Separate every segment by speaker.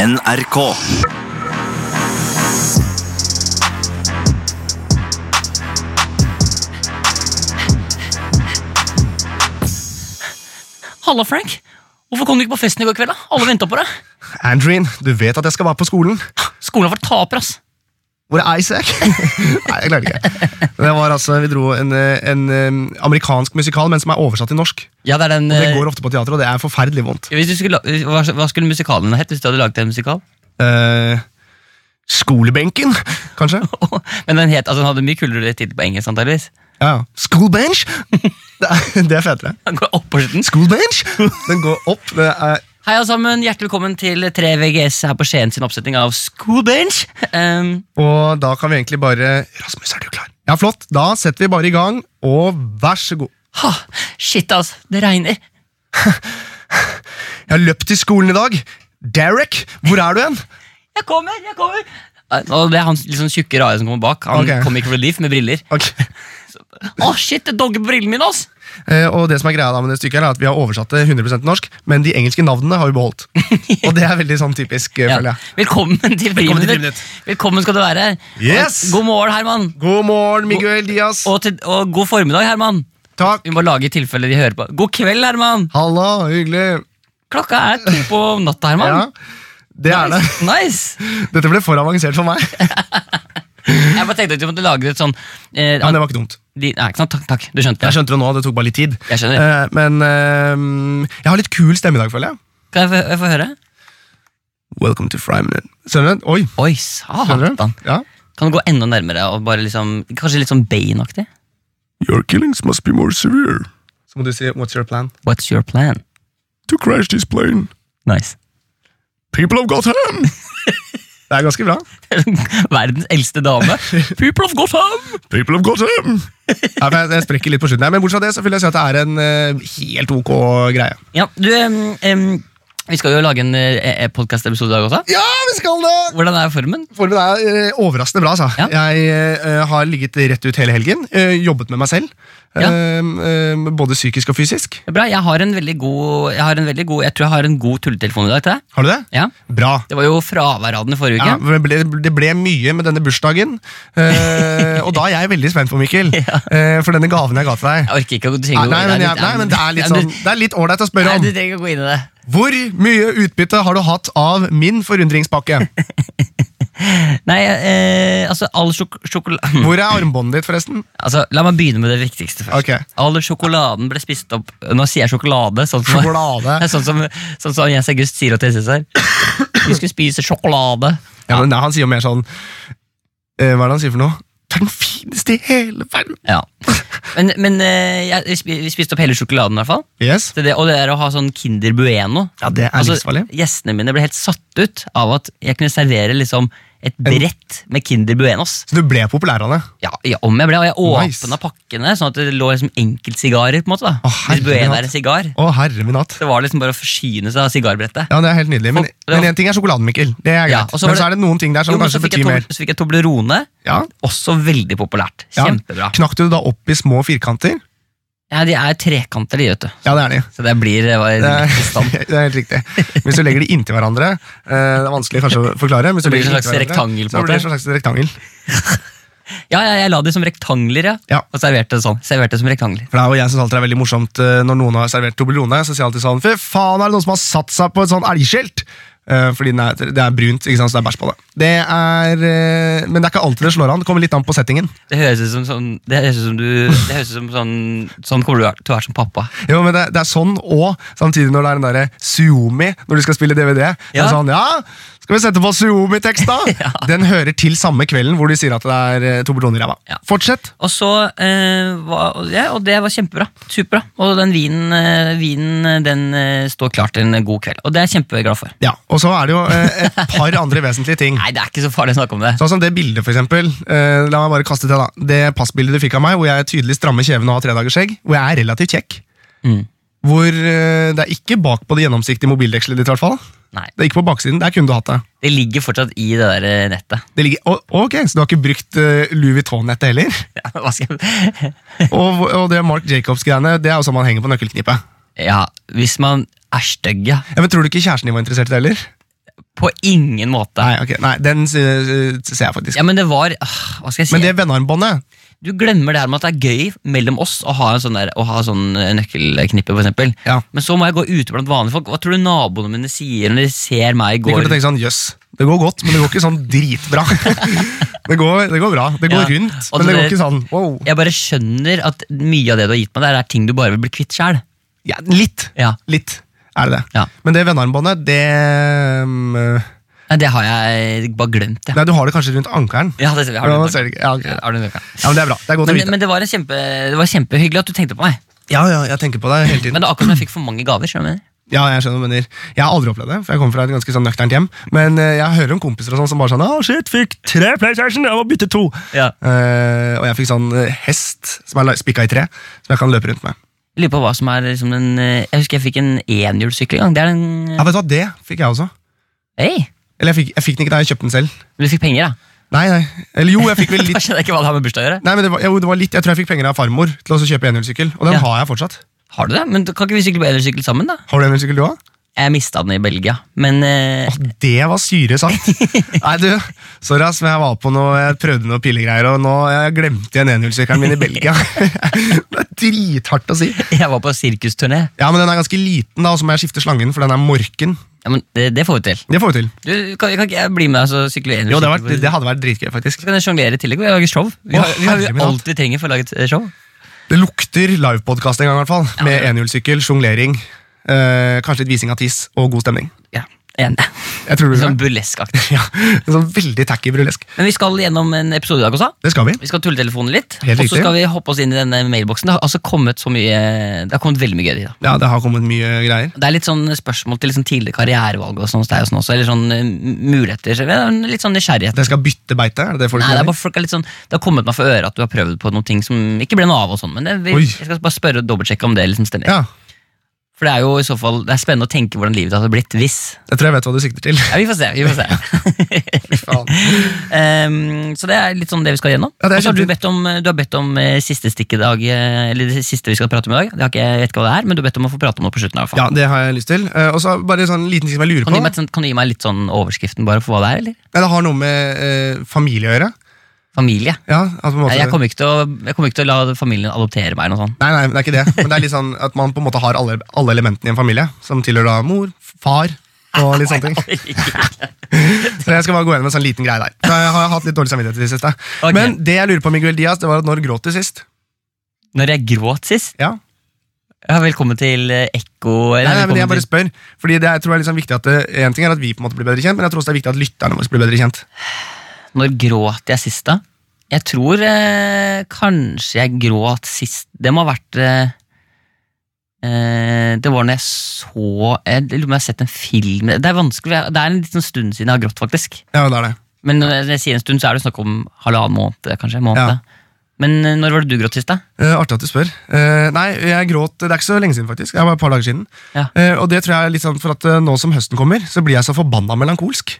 Speaker 1: NRK.
Speaker 2: Halla, Frank. Hvorfor kom du ikke på festen i går kveld? da? Alle venta på deg.
Speaker 3: Andreen, du vet at jeg skal være på skolen.
Speaker 2: Skolen har vært taper, ass.
Speaker 3: Hvor er Isaac? Nei, jeg klarer ikke. Det var altså, Vi dro en, eh, en eh, amerikansk musikal, men som er oversatt til norsk.
Speaker 4: Ja, det er den
Speaker 3: Det
Speaker 4: eh,
Speaker 3: går ofte på teater, og det er forferdelig vondt.
Speaker 4: hvis du skulle, la- hva, hva skulle musikalen hett hvis du hadde laget en musikal?
Speaker 3: Eh, skolebenken, kanskje?
Speaker 4: Men den, het, altså, den hadde mye kulere tittel på engelsk, antageligvis.
Speaker 3: Ja, ja. Schoolbench! Det er, det er fetere.
Speaker 4: Den går opp på slutten.
Speaker 3: Schoolbench! Den går opp. Det er,
Speaker 4: Hei, alle sammen. Hjertelig velkommen til 3VGS her på Skien sin oppsetning av Schoolbench. Um,
Speaker 3: og da kan vi egentlig bare Rasmus, er du klar? Ja, flott. Da setter vi bare i gang, og vær så god.
Speaker 4: ha, shit, altså. Det regner.
Speaker 3: Jeg har løpt til skolen i dag. Derek, hvor er du hen?
Speaker 4: Jeg kommer, jeg kommer. Eh, Og det er han litt sånn tjukke rare som kommer bak. Han
Speaker 3: Ok.
Speaker 4: kommer ikke for relief med briller.
Speaker 3: Ok.
Speaker 4: Å, shit, det dogger på brillene mine, ass!
Speaker 3: Eh, og det som er greia da med det stykket her, er at Vi har oversatt det 100 til norsk, men de engelske navnene har vi beholdt. Og det er veldig sånn typisk, eh,
Speaker 4: Ja.
Speaker 3: føler jeg.
Speaker 4: Velkommen til
Speaker 3: til
Speaker 4: friminutt.
Speaker 3: Friminutt.
Speaker 4: Velkommen skal du være.
Speaker 3: Yes!
Speaker 4: Og God morgen, Herman.
Speaker 3: God morgen, Miguel Diaz.
Speaker 4: Og, til, og god formiddag, Herman.
Speaker 3: Takk.
Speaker 4: Vi må lage i tilfelle de hører på. God kveld, Herman.
Speaker 3: Halla, hyggelig.
Speaker 4: Klokka er to på natta,
Speaker 3: Ja,
Speaker 4: Herman.
Speaker 3: det er det.
Speaker 4: nice. nice.
Speaker 3: Dette ble for avansert for meg.
Speaker 4: Jeg bare tenkte at du måtte lage et sånn eh,
Speaker 3: Men det var ikke dumt.
Speaker 4: de, Nei, ikke sant? Takk, takk. Du skjønte
Speaker 3: Jeg
Speaker 4: det.
Speaker 3: skjønte det nå, det tok bare litt tid.
Speaker 4: Jeg skjønner.
Speaker 3: Eh, men eh, jeg har litt kul stemme i dag, føler jeg.
Speaker 4: Kan jeg få, jeg få høre?
Speaker 3: Welcome to Fryminute. Skjønner du? Oi,
Speaker 4: Oi,
Speaker 3: skjønner
Speaker 4: Ah,
Speaker 3: du?
Speaker 4: satan.
Speaker 3: Ja.
Speaker 4: Kan du gå enda nærmere? og bare liksom, Kanskje litt sånn Bane-aktig?
Speaker 5: Your killings must be more severe.
Speaker 3: Så må du si What's your plan?
Speaker 4: What's your plan?
Speaker 5: To crash this plane,
Speaker 4: Nice.
Speaker 5: people have got ham.
Speaker 3: Det er ganske bra.
Speaker 4: Verdens eldste dame. People of Gotham!
Speaker 5: People have got ham.
Speaker 3: Ja, for jeg, jeg sprekker litt på slutten her, men bortsett fra det så vil jeg si at det er en eh, helt ok greie.
Speaker 4: Ja, du, em, em, vi skal jo lage en uh, podkast-episode i dag også.
Speaker 3: Ja, vi skal det!
Speaker 4: Hvordan er formen?
Speaker 3: Formen er eh, overraskende bra. Altså.
Speaker 4: Ja.
Speaker 3: Jeg eh, har ligget rett ut hele helgen. eh, jobbet med meg selv.
Speaker 4: Ja.
Speaker 3: eh, eh, både psykisk og fysisk.
Speaker 4: Bra, jeg har en veldig god Jeg, har en veldig god, jeg tror jeg har en god tulletelefon i dag til deg.
Speaker 3: Har du det?
Speaker 4: Ja,
Speaker 3: Bra.
Speaker 4: Det var jo fraværraden i forrige uke.
Speaker 3: Ja, det, ble, det ble mye med denne bursdagen, eh, og da er jeg veldig spent på, Mikkel. eh, for denne gaven jeg ga til deg.
Speaker 4: Jeg orker ikke å du
Speaker 3: Nei,
Speaker 4: trenger å gå
Speaker 3: nei,
Speaker 4: inn der litt.
Speaker 3: men, jeg, nei, men det er litt
Speaker 4: Ja, men
Speaker 3: sånn
Speaker 4: du-
Speaker 3: Det er litt ålreit å spørre
Speaker 4: Nei,
Speaker 3: om.
Speaker 4: du trenger ikke å gå inn i det.
Speaker 3: Hvor mye utbytte har du hatt av min forundringspakke?
Speaker 4: Nei, eh, altså, all sjok sjokolade
Speaker 3: Hvor er armbåndet ditt, forresten?
Speaker 4: altså, La meg begynne med det viktigste først.
Speaker 3: Ok.
Speaker 4: All sjokoladen ble spist opp Nå sier jeg sjokolade, sånn som,
Speaker 3: Sjokolade.
Speaker 4: Nei, sånn som, sånn som Jens August sier og Therese her. Vi skulle spise sjokolade.
Speaker 3: Ja, men nei, Han sier jo mer sånn eh, Hva er det han sier for noe? Det er den fineste i hele verden!
Speaker 4: Ja. Men, men eh, jeg, vi spi- vi spiste opp hele sjokoladen, i hvert fall.
Speaker 3: Yes.
Speaker 4: Så det, og det er å ha sånn Kinder Bueno. Altså,
Speaker 3: Ja, det er livsfarlig.
Speaker 4: Gjestene mine ble helt satt ut av at jeg kunne servere liksom et brett med Kinder Buenos.
Speaker 3: Så du ble populær av det?
Speaker 4: Ja, ja, om jeg ble, og jeg åpna
Speaker 3: Nice.
Speaker 4: pakkene, sånn at det lå liksom enkeltsigarer. på en måte da.
Speaker 3: Å,
Speaker 4: Hvis
Speaker 3: herre
Speaker 4: Buen
Speaker 3: min
Speaker 4: er
Speaker 3: hatt.
Speaker 4: en sigar.
Speaker 3: Å, herre min hatt.
Speaker 4: Det var liksom bare å forsyne seg av sigarbrettet.
Speaker 3: Ja, det er helt nydelig. Men
Speaker 4: Folk- ja.
Speaker 3: men én ting er sjokoladen, Mikkel. Det er greit.
Speaker 4: Ja, og så var
Speaker 3: men så
Speaker 4: det-
Speaker 3: er det noen ting der som
Speaker 4: Jo, men så
Speaker 3: kanskje
Speaker 4: fikk, jeg
Speaker 3: betyr mer.
Speaker 4: Tobl- så fikk jeg Toblerone.
Speaker 3: Ja,
Speaker 4: Også veldig populært.
Speaker 3: ja.
Speaker 4: Kjempebra. Ja.
Speaker 3: Knakk du det da opp i små firkanter?
Speaker 4: De er trekanter, de, vet du.
Speaker 3: Ja, det er de.
Speaker 4: Så det blir eh,
Speaker 3: Det
Speaker 4: hva-
Speaker 3: er,
Speaker 4: stand.
Speaker 3: det er helt riktig. Hvis du legger de inntil hverandre eh, Det er vanskelig kanskje å forklare. men Hvis du
Speaker 4: Det blir
Speaker 3: legger
Speaker 4: en
Speaker 3: de
Speaker 4: slags
Speaker 3: inntil hverandre,
Speaker 4: rektangel, på
Speaker 3: Så blir det
Speaker 4: en
Speaker 3: en slags rektangel.
Speaker 4: Ja, ja, jeg la de som rektangler, ja.
Speaker 3: Ja.
Speaker 4: Og serverte det sånn. Serverte det som rektangler.
Speaker 3: For det er jo jeg synes alltid det er veldig morsomt eh, Når noen har servert Toblerone, så sier jeg alltid sånn Fy faen, er det noen som har satt seg på et sånn elgskilt? Eh, fordi den er, det er brunt, ikke sant, så det er bæsj på det. Det er eh, Men det er ikke alltid det slår an. Det kommer litt an på settingen.
Speaker 4: Det høres ut som sånn Det høres ut som du Det høres ut som sånn Sånn kommer du til å være som pappa.
Speaker 3: Jo, men det, det er sånn, og samtidig når det er den derre Suomi, når du skal spille DVD. Det
Speaker 4: Ja.
Speaker 3: er sånn, ja, skal vi sette på Suomi-tekst, da?
Speaker 4: Ja.
Speaker 3: Den hører til samme kvelden hvor de sier at det er eh, Toblerone i ræva.
Speaker 4: Ja.
Speaker 3: Fortsett.
Speaker 4: Og så eh, var, ja, Og det var kjempebra. Superbra. Og den vinen, eh, vinen eh, den eh, står klar til en god kveld. Og det er jeg kjempeglad for.
Speaker 3: Ja, Og så er det jo eh, et par andre vesentlige ting.
Speaker 4: Nei, det er ikke så farlig å snakke om det.
Speaker 3: Sånn som det bildet, for eksempel. Eh, la meg bare kaste til, da. Det passbildet du fikk av meg, hvor jeg tydelig strammer kjeven og har tredagersskjegg, hvor jeg er relativt kjekk.
Speaker 4: Mm.
Speaker 3: Hvor eh, det er ikke bak på det gjennomsiktige mobildekselet ditt, i hvert fall.
Speaker 4: Nei,
Speaker 3: Det er ikke på baksiden. Der kunne du hatt det.
Speaker 4: Det ligger fortsatt i det der eh, nettet.
Speaker 3: det ligger, å, ok, Så du har ikke brukt eh, Louis Vuitton-nettet heller?
Speaker 4: Ja, hva skal jeg
Speaker 3: og, og det Mark Jacobs-greiene, det er jo sånn man henger på nøkkelknippet.
Speaker 4: Ja, hvis man er stygg, ja.
Speaker 3: Ja, men Tror du ikke kjæresten din var interessert i det heller?
Speaker 4: På ingen måte.
Speaker 3: Nei, ok, nei, den eh, ser jeg faktisk.
Speaker 4: Ja, men det var ah, Hva skal jeg si?
Speaker 3: Men det vennearmbåndet
Speaker 4: du glemmer det her med at det er gøy mellom oss å ha en sånn, der, å ha sånn eh, nøkkelknippe, for eksempel.
Speaker 3: Ja.
Speaker 4: Men så må jeg gå ute blant vanlige folk. Hva tror du naboene mine sier når de ser meg
Speaker 3: De
Speaker 4: gå?
Speaker 3: kommer til å tenke sånn, jøss, det går godt, men det går ikke sånn dritbra. det, går, det går bra, det går
Speaker 4: Ja.
Speaker 3: rundt,
Speaker 4: Og
Speaker 3: men det
Speaker 4: det-
Speaker 3: går ikke sånn wow.
Speaker 4: Jeg bare skjønner at mye av det du har gitt meg, der, er ting du bare vil bli kvitt sjæl.
Speaker 3: Ja, litt.
Speaker 4: Ja.
Speaker 3: Litt er det det.
Speaker 4: Ja.
Speaker 3: Men det vennearmbåndet, det um,
Speaker 4: Nei,
Speaker 3: Nei,
Speaker 4: Det har jeg bare glemt, ja.
Speaker 3: du har det kanskje rundt ankelen.
Speaker 4: ja det, har
Speaker 3: Ja,
Speaker 4: du
Speaker 3: man
Speaker 4: nok.
Speaker 3: ser det ikke. Ja, ok.
Speaker 4: Ja, har du nok, ja.
Speaker 3: Ja, men det er bra. Det er godt å
Speaker 4: Men,
Speaker 3: vite.
Speaker 4: men det, var en kjempe, det var kjempehyggelig at du tenkte på meg.
Speaker 3: ja, ja, jeg tenker på deg hele
Speaker 4: Men
Speaker 3: tiden.
Speaker 4: det er akkurat som jeg fikk for mange gaver. skjønner du hva jeg mener?
Speaker 3: Ja, jeg skjønner hva du mener. Jeg har aldri opplevd det, for jeg kommer fra et ganske sånn nøkternt hjem. Men eh, jeg hører om kompiser og sånn som bare sånn Å, shit, fikk tre PlayStation, jeg må bytte to.
Speaker 4: Ja.
Speaker 3: Eh, og jeg fikk sånn eh, hest som er la- spikka i tre, som jeg kan løpe rundt med.
Speaker 4: Jeg lurer på hva som er liksom den, eh, Jeg husker jeg fikk en enhjulssykkel en gang. Det er den
Speaker 3: Ja, vet du hva, det fikk jeg også.
Speaker 4: Hei!
Speaker 3: Eller jeg fikk, jeg fikk den ikke da jeg kjøpte den selv.
Speaker 4: Du fikk penger, da?
Speaker 3: Nei, nei. Eller jo, jeg fikk vel
Speaker 4: Da
Speaker 3: litt
Speaker 4: skjønner jeg ikke hva det har med bursdag å gjøre.
Speaker 3: Nei, men det var, jo, det var litt Jeg tror jeg fikk penger av farmor til å også kjøpe enhjulssykkel. Og den
Speaker 4: Ja.
Speaker 3: har jeg fortsatt.
Speaker 4: Har du det? Men Kan ikke vi sykle på elsykkel sammen, da?
Speaker 3: Har du enhjulssykkel du òg?
Speaker 4: Jeg mista den i Belgia, men eh,
Speaker 3: Det var syre sagt. Nei, du, sorry, ass, men jeg var på noe Jeg prøvde noe pillegreier, og nå jeg glemte igjen enhjulssykkelen min i Belgia. det er drithardt å si.
Speaker 4: jeg var på sirkusturné.
Speaker 3: Ja, men den er ganske liten, da, og så må jeg skifte slangen, for den er morken.
Speaker 4: Ja, men det, det får vi til.
Speaker 3: Det får vi til.
Speaker 4: Du, kan, kan ikke jeg bli med deg så sykle
Speaker 3: Jo,
Speaker 4: enhjulssykkel?
Speaker 3: det, hadde vært- det hadde vært dritgøy, faktisk.
Speaker 4: Så kan jeg sjonglere i tillegg. Vi lager show. Vi
Speaker 3: Å,
Speaker 4: har, vi har vi
Speaker 3: herre min hatt.
Speaker 4: alt vi trenger for å lage et eh, show.
Speaker 3: Det lukter livepodkast en gang, i hvert fall. Med enhjulssykkel, sjonglering, eh, kanskje litt vising av tiss og god stemning.
Speaker 4: Ja, Enig.
Speaker 3: Jeg tror det blir
Speaker 4: Sånn
Speaker 3: bra.
Speaker 4: burleskaktig.
Speaker 3: ja, en sånn veldig tacky brulesk.
Speaker 4: Men vi skal gjennom en episode i dag også.
Speaker 3: Det skal vi.
Speaker 4: Vi skal tulle telefonen litt,
Speaker 3: Helt
Speaker 4: og så
Speaker 3: riktig.
Speaker 4: skal vi hoppe oss inn i denne mailboksen. Det har altså kommet så mye Det har kommet veldig mye gøy. i dag.
Speaker 3: Ja, det har kommet mye greier.
Speaker 4: Det er litt sånn spørsmål til liksom tidligere karrierevalg og sånn hos deg og sånn også, eller sånn eh, muligheter. Så det er en Litt sånn nysgjerrighet.
Speaker 3: Det skal bytte beite? er det det folk
Speaker 4: Nei, det, er
Speaker 3: mener?
Speaker 4: bare folk er litt sånn, det har kommet meg for øre at du har prøvd på noen ting som ikke ble noe av. og sånn, Men det, vi,
Speaker 3: Oi.
Speaker 4: jeg skal bare spørre og dobbeltsjekke om det liksom stemmer.
Speaker 3: Ja,
Speaker 4: For det er jo i så fall, det er spennende å tenke hvordan livet hadde blitt hvis.
Speaker 3: Jeg tror jeg vet hva du sikter til.
Speaker 4: Ja, Vi får se. vi får se.
Speaker 3: Faen.
Speaker 4: Em, så det er litt sånn det vi skal gjennom.
Speaker 3: Ja, det er
Speaker 4: og så har du,
Speaker 3: kjempefint.
Speaker 4: bedt om, du har bedt om eh, siste stikk i dag, eh, eller det siste vi skal prate om i dag. Det har ikke, jeg vet ikke hva det er, men du har bedt om å få prate om det på slutten. i hvert fall.
Speaker 3: Ja, Det har jeg lyst til. Eh, Og så bare sånn liten ting som jeg lurer
Speaker 4: Kan
Speaker 3: på.
Speaker 4: du, gi meg, et sånt- kan du gi meg litt sånn overskriften bare for hva det er? eller?
Speaker 3: Nei, det har noe med eh, familie å gjøre.
Speaker 4: Familie.
Speaker 3: Ja, at på en måte...
Speaker 4: Jeg kommer, ikke til å, jeg kommer ikke til å la familien adoptere meg. eller noe sånt.
Speaker 3: Nei, nei, det er ikke det. Men det er litt sånn at man på en måte har alle, alle elementene i en familie. Som tilhører da mor, far og litt sånne ting. Så jeg skal bare gå gjennom en sånn liten greie der. Så jeg har hatt litt dårlig samvittighet i det siste.
Speaker 4: Ok.
Speaker 3: Men det jeg lurer på, Miguel Diaz, det var at når gråt du sist?
Speaker 4: Når jeg gråt sist
Speaker 3: Ja.
Speaker 4: ja, Velkommen til eh, Ekko. eller
Speaker 3: Nei, nei, men
Speaker 4: velkommen
Speaker 3: jeg bare
Speaker 4: til-
Speaker 3: spør. Fordi det er, tror jeg er litt sånn viktig at det, En ting er at vi på en måte blir bedre kjent, men jeg tror også det er viktig at lytterne våre blir bedre kjent.
Speaker 4: Når gråt jeg sist, da? Jeg tror eh, kanskje jeg gråt sist Det må ha vært eh, eh, Det var når jeg så Jeg lurer på om jeg har sett en film Det er vanskelig, jeg- det er en liten stund siden jeg har grått, faktisk.
Speaker 3: Ja, det er det.
Speaker 4: Men når jeg sier en stund, så er det snakk om halvannen måned. kanskje
Speaker 3: Ja.
Speaker 4: måned. Men eh, når var det du gråt sist, da?
Speaker 3: Eh, artig at du spør. Eh, nei, jeg gråt Det er ikke så lenge siden, faktisk. Det er bare et par dager siden.
Speaker 4: Ja.
Speaker 3: Eh, og det tror jeg er litt sånn for at eh, nå som høsten kommer, så blir jeg så forbanna melankolsk.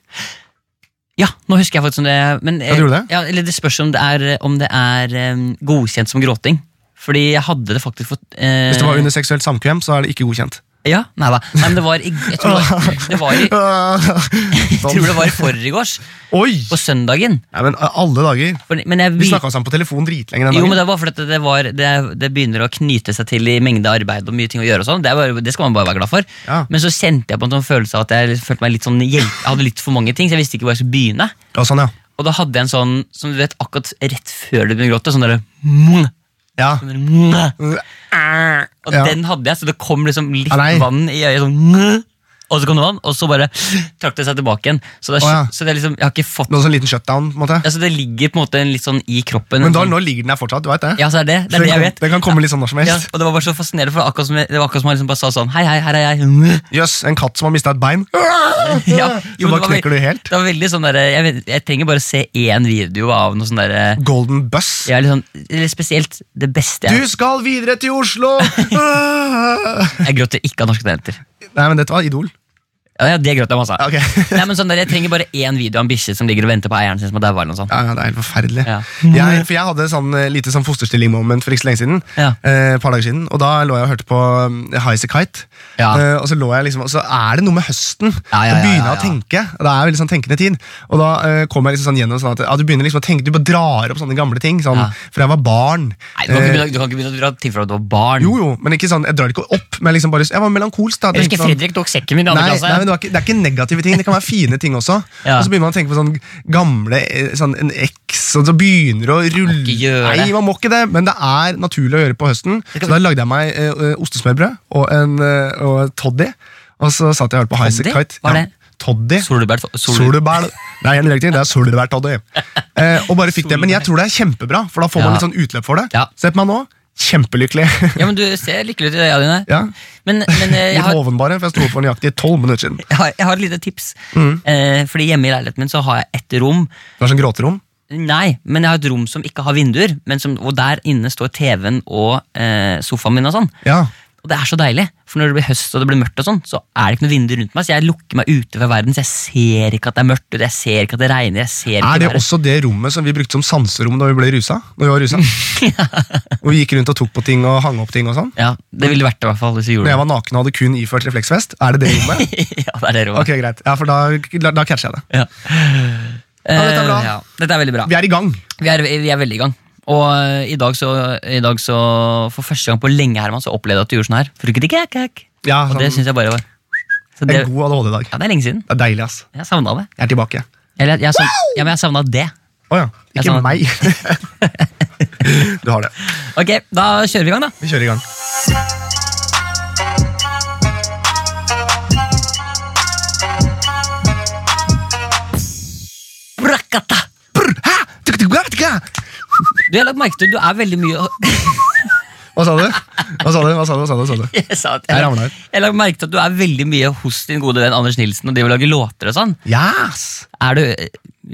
Speaker 4: Ja, nå husker jeg faktisk om det. Men,
Speaker 3: du gjorde det?
Speaker 4: Ja, eller det spørs om det er, om det er eh, godkjent som gråting. Fordi jeg hadde det faktisk fått eh,
Speaker 3: Hvis det var under seksuelt samkvem, så er det ikke godkjent.
Speaker 4: Ja, nei da. Nei, men det var i, jeg tror det var, det var i
Speaker 3: Jeg
Speaker 4: Jeg tror det var i forgårs,
Speaker 3: Sånn. Oi!
Speaker 4: på søndagen.
Speaker 3: Nei, men eh, alle dager.
Speaker 4: For, men jeg,
Speaker 3: Vi
Speaker 4: vi-
Speaker 3: snakka sammen på telefon dritlenge den
Speaker 4: jo,
Speaker 3: dagen.
Speaker 4: men det var fordi at det, var, det, det begynner å knyte seg til i mengde arbeid og mye ting å gjøre. og sånn. Det, er bare- det skal man bare være glad for.
Speaker 3: Ja.
Speaker 4: Men så kjente jeg på en sånn følelse av at jeg følte meg litt sånn hjelp, jeg hadde litt for mange ting, så jeg visste ikke hvor jeg skulle begynne.
Speaker 3: Ja, sånn, ja.
Speaker 4: Og da hadde jeg en sånn som du vet, akkurat rett før du begynner å gråte, sånn derre «Mm»,
Speaker 3: ja.
Speaker 4: sånn derre «Mm». Og
Speaker 3: Ja.
Speaker 4: den hadde jeg, så det kom liksom litt
Speaker 3: Ah, nei.
Speaker 4: vann i øyet. sånn «Mm», Og så kom det vann, og så bare trakk det seg tilbake igjen. Så det, er,
Speaker 3: Å, ja.
Speaker 4: så det er liksom, jeg har ikke fått
Speaker 3: Noe sånn liten shutdown, på en måte.
Speaker 4: Altså, det ligger på en måte litt sånn i kroppen.
Speaker 3: Men da,
Speaker 4: sånn,
Speaker 3: nå ligger den der fortsatt, du veit det?
Speaker 4: ja, så er det, det
Speaker 3: Så
Speaker 4: er det
Speaker 3: den,
Speaker 4: jeg
Speaker 3: kom,
Speaker 4: vet.
Speaker 3: den kan komme litt sånn når som
Speaker 4: Ja,
Speaker 3: helst.
Speaker 4: og det var bare så fascinerende, for akkurat som jeg, det var akkurat som han liksom bare sa sånn Hei, hei, her er jeg.
Speaker 3: Jøs, en katt som har mista et bein.
Speaker 4: Ja,
Speaker 3: så
Speaker 4: men
Speaker 3: bare
Speaker 4: det var
Speaker 3: knekker
Speaker 4: veld-
Speaker 3: du helt.
Speaker 4: Det var veldig sånn der, jeg, vet, jeg trenger bare se én video av noe sånn derre
Speaker 3: Golden buss.
Speaker 4: ja, litt sånn, eller Spesielt det beste
Speaker 3: Du
Speaker 4: jeg
Speaker 3: skal videre til Oslo! Ah!
Speaker 4: Jeg gråter ikke av norske talenter.
Speaker 3: Nei, men dette var Idol.
Speaker 4: Ja, ja, det gråt jeg masse av.
Speaker 3: Ja, ok.
Speaker 4: Nei, men sånn der, Jeg trenger bare én video av en bikkje som ligger og venter på eieren sin som har daua. eller noe sånt.
Speaker 3: Ja, ja, det er helt forferdelig.
Speaker 4: Ja.
Speaker 3: Jeg, for jeg hadde sånn eh, lite sånn fosterstilling-moment for ikke så lenge siden.
Speaker 4: Ja.
Speaker 3: Eh, et par dager siden Og da lå jeg og hørte på um, High As A Kite.
Speaker 4: Ja.
Speaker 3: Eh, og så lå jeg liksom Og så er det noe med høsten.
Speaker 4: Ja, ja, ja,
Speaker 3: du
Speaker 4: ja,
Speaker 3: begynner å
Speaker 4: ja.
Speaker 3: tenke. Og det er veldig sånn tenkende tid. Og da eh, kom jeg liksom sånn gjennom sånn at ja, du begynner liksom å tenke Du bare drar opp sånne gamle ting. Sånn,
Speaker 4: Ja.
Speaker 3: For jeg var barn.
Speaker 4: Nei, Du kan ikke
Speaker 3: Eh,
Speaker 4: begynne, du kan ikke begynne å dra til for at du var barn.
Speaker 3: jo, jo, men ikke sånn, jeg drar det ikke opp. Men liksom bare, jeg var melankolsk. da
Speaker 4: Jeg
Speaker 3: tenkte
Speaker 4: husker
Speaker 3: sånn-
Speaker 4: Fredrik tok sekken min i andre
Speaker 3: Nei, nei,
Speaker 4: klasse.
Speaker 3: men det, var ikke, det er ikke negative ting, det kan være fine ting også.
Speaker 4: Ja.
Speaker 3: Og så begynner man å tenke på sånn gamle eh, sånn en eks, og så begynner det å rulle
Speaker 4: ikke gjøre
Speaker 3: Nei,
Speaker 4: det.
Speaker 3: man må ikke det, men det er naturlig å gjøre på høsten. Så da lagde jeg meg eh, eh, ostesmørbrød og en eh, og et toddy, og så satt jeg og hørte på Highasakite.
Speaker 4: Toddy? Hva er det?
Speaker 3: Toddy.
Speaker 4: Solbær, sol,
Speaker 3: Solbær. Nei, en direkting, det er solbærtoddy. Eh, og bare fikk det, Men jeg tror det er kjempebra, for da får man
Speaker 4: Ja.
Speaker 3: litt sånn utløp for det.
Speaker 4: Ja.
Speaker 3: Se på meg nå. Kjempelykkelig.
Speaker 4: Ja, men Du ser lykkelig ut i øya dine.
Speaker 3: ja.
Speaker 4: Men, men eh, jeg,
Speaker 3: Litt
Speaker 4: har,
Speaker 3: hoven bare, for jeg sto opp for nøyaktig tolv minutter siden.
Speaker 4: jeg, har, jeg har et lite tips.
Speaker 3: Mm.
Speaker 4: Eh, fordi Hjemme i leiligheten min så har jeg et rom.
Speaker 3: Det var sånn gråterom.
Speaker 4: Nei, men jeg har et rom som ikke har vinduer. Men som, og der inne står TV-en og eh, sofaen min. og sånn
Speaker 3: Ja.
Speaker 4: Og det er så deilig, for når det blir høst og det blir mørkt, og sånn, så er det ikke noe vindu rundt meg. Så jeg lukker meg ute fra verden, så jeg ser ikke at det er mørkt, ute, jeg ser ikke at det regner. jeg ser ikke
Speaker 3: Er det
Speaker 4: været.
Speaker 3: også det rommet som vi brukte som sanserom da vi ble rusa? Når vi var rusa? Og vi gikk rundt og tok på ting og hang opp ting og sånn?
Speaker 4: Ja, Det ville vært det, i hvert fall. hvis jeg
Speaker 3: Når
Speaker 4: gjorde det.
Speaker 3: jeg var naken og hadde kun iført refleksvest? Er det det rommet?
Speaker 4: ja, det er det rommet.
Speaker 3: Ok, greit. Ja, for da, da, da catcher jeg det.
Speaker 4: Ja.
Speaker 3: dette er bra.
Speaker 4: Eh, ja, dette er veldig bra.
Speaker 3: Vi er i gang.
Speaker 4: Vi er, vi er veldig i gang. Og eh, i dag, så, i dag så For første gang på lenge Herman, så opplevde jeg at du gjorde sånn her. Frukketikækæk.
Speaker 3: Ja,
Speaker 4: Og
Speaker 3: sånn,
Speaker 4: det syns jeg bare var så det,
Speaker 3: En god ADHD i dag.
Speaker 4: Ja, det er lenge siden.
Speaker 3: Det er deilig, ass.
Speaker 4: Jeg savna det.
Speaker 3: Jeg er tilbake.
Speaker 4: Eller, jeg, savn, ja, men jeg savna det.
Speaker 3: Å ja.
Speaker 4: Jeg
Speaker 3: Ikke
Speaker 4: sa-
Speaker 3: meg. du har det.
Speaker 4: Ok, da kjører vi i gang, da.
Speaker 3: Vi kjører i gang.
Speaker 4: Brakata!
Speaker 3: Brr, hæ? Tuk, tuk, tuk, tuk.
Speaker 4: Du jeg har lagt merke til, du er veldig mye
Speaker 3: Hva sa du? Hva sa du? Hva sa du? Hva sa du? Hva sa du?
Speaker 4: Jeg sa at
Speaker 3: Jeg
Speaker 4: jeg,
Speaker 3: ramlet ut.
Speaker 4: jeg la merke til at du er veldig mye hos din gode venn Anders Nilsen og driver og lager låter og sånn.
Speaker 3: Yes!
Speaker 4: Er du eh,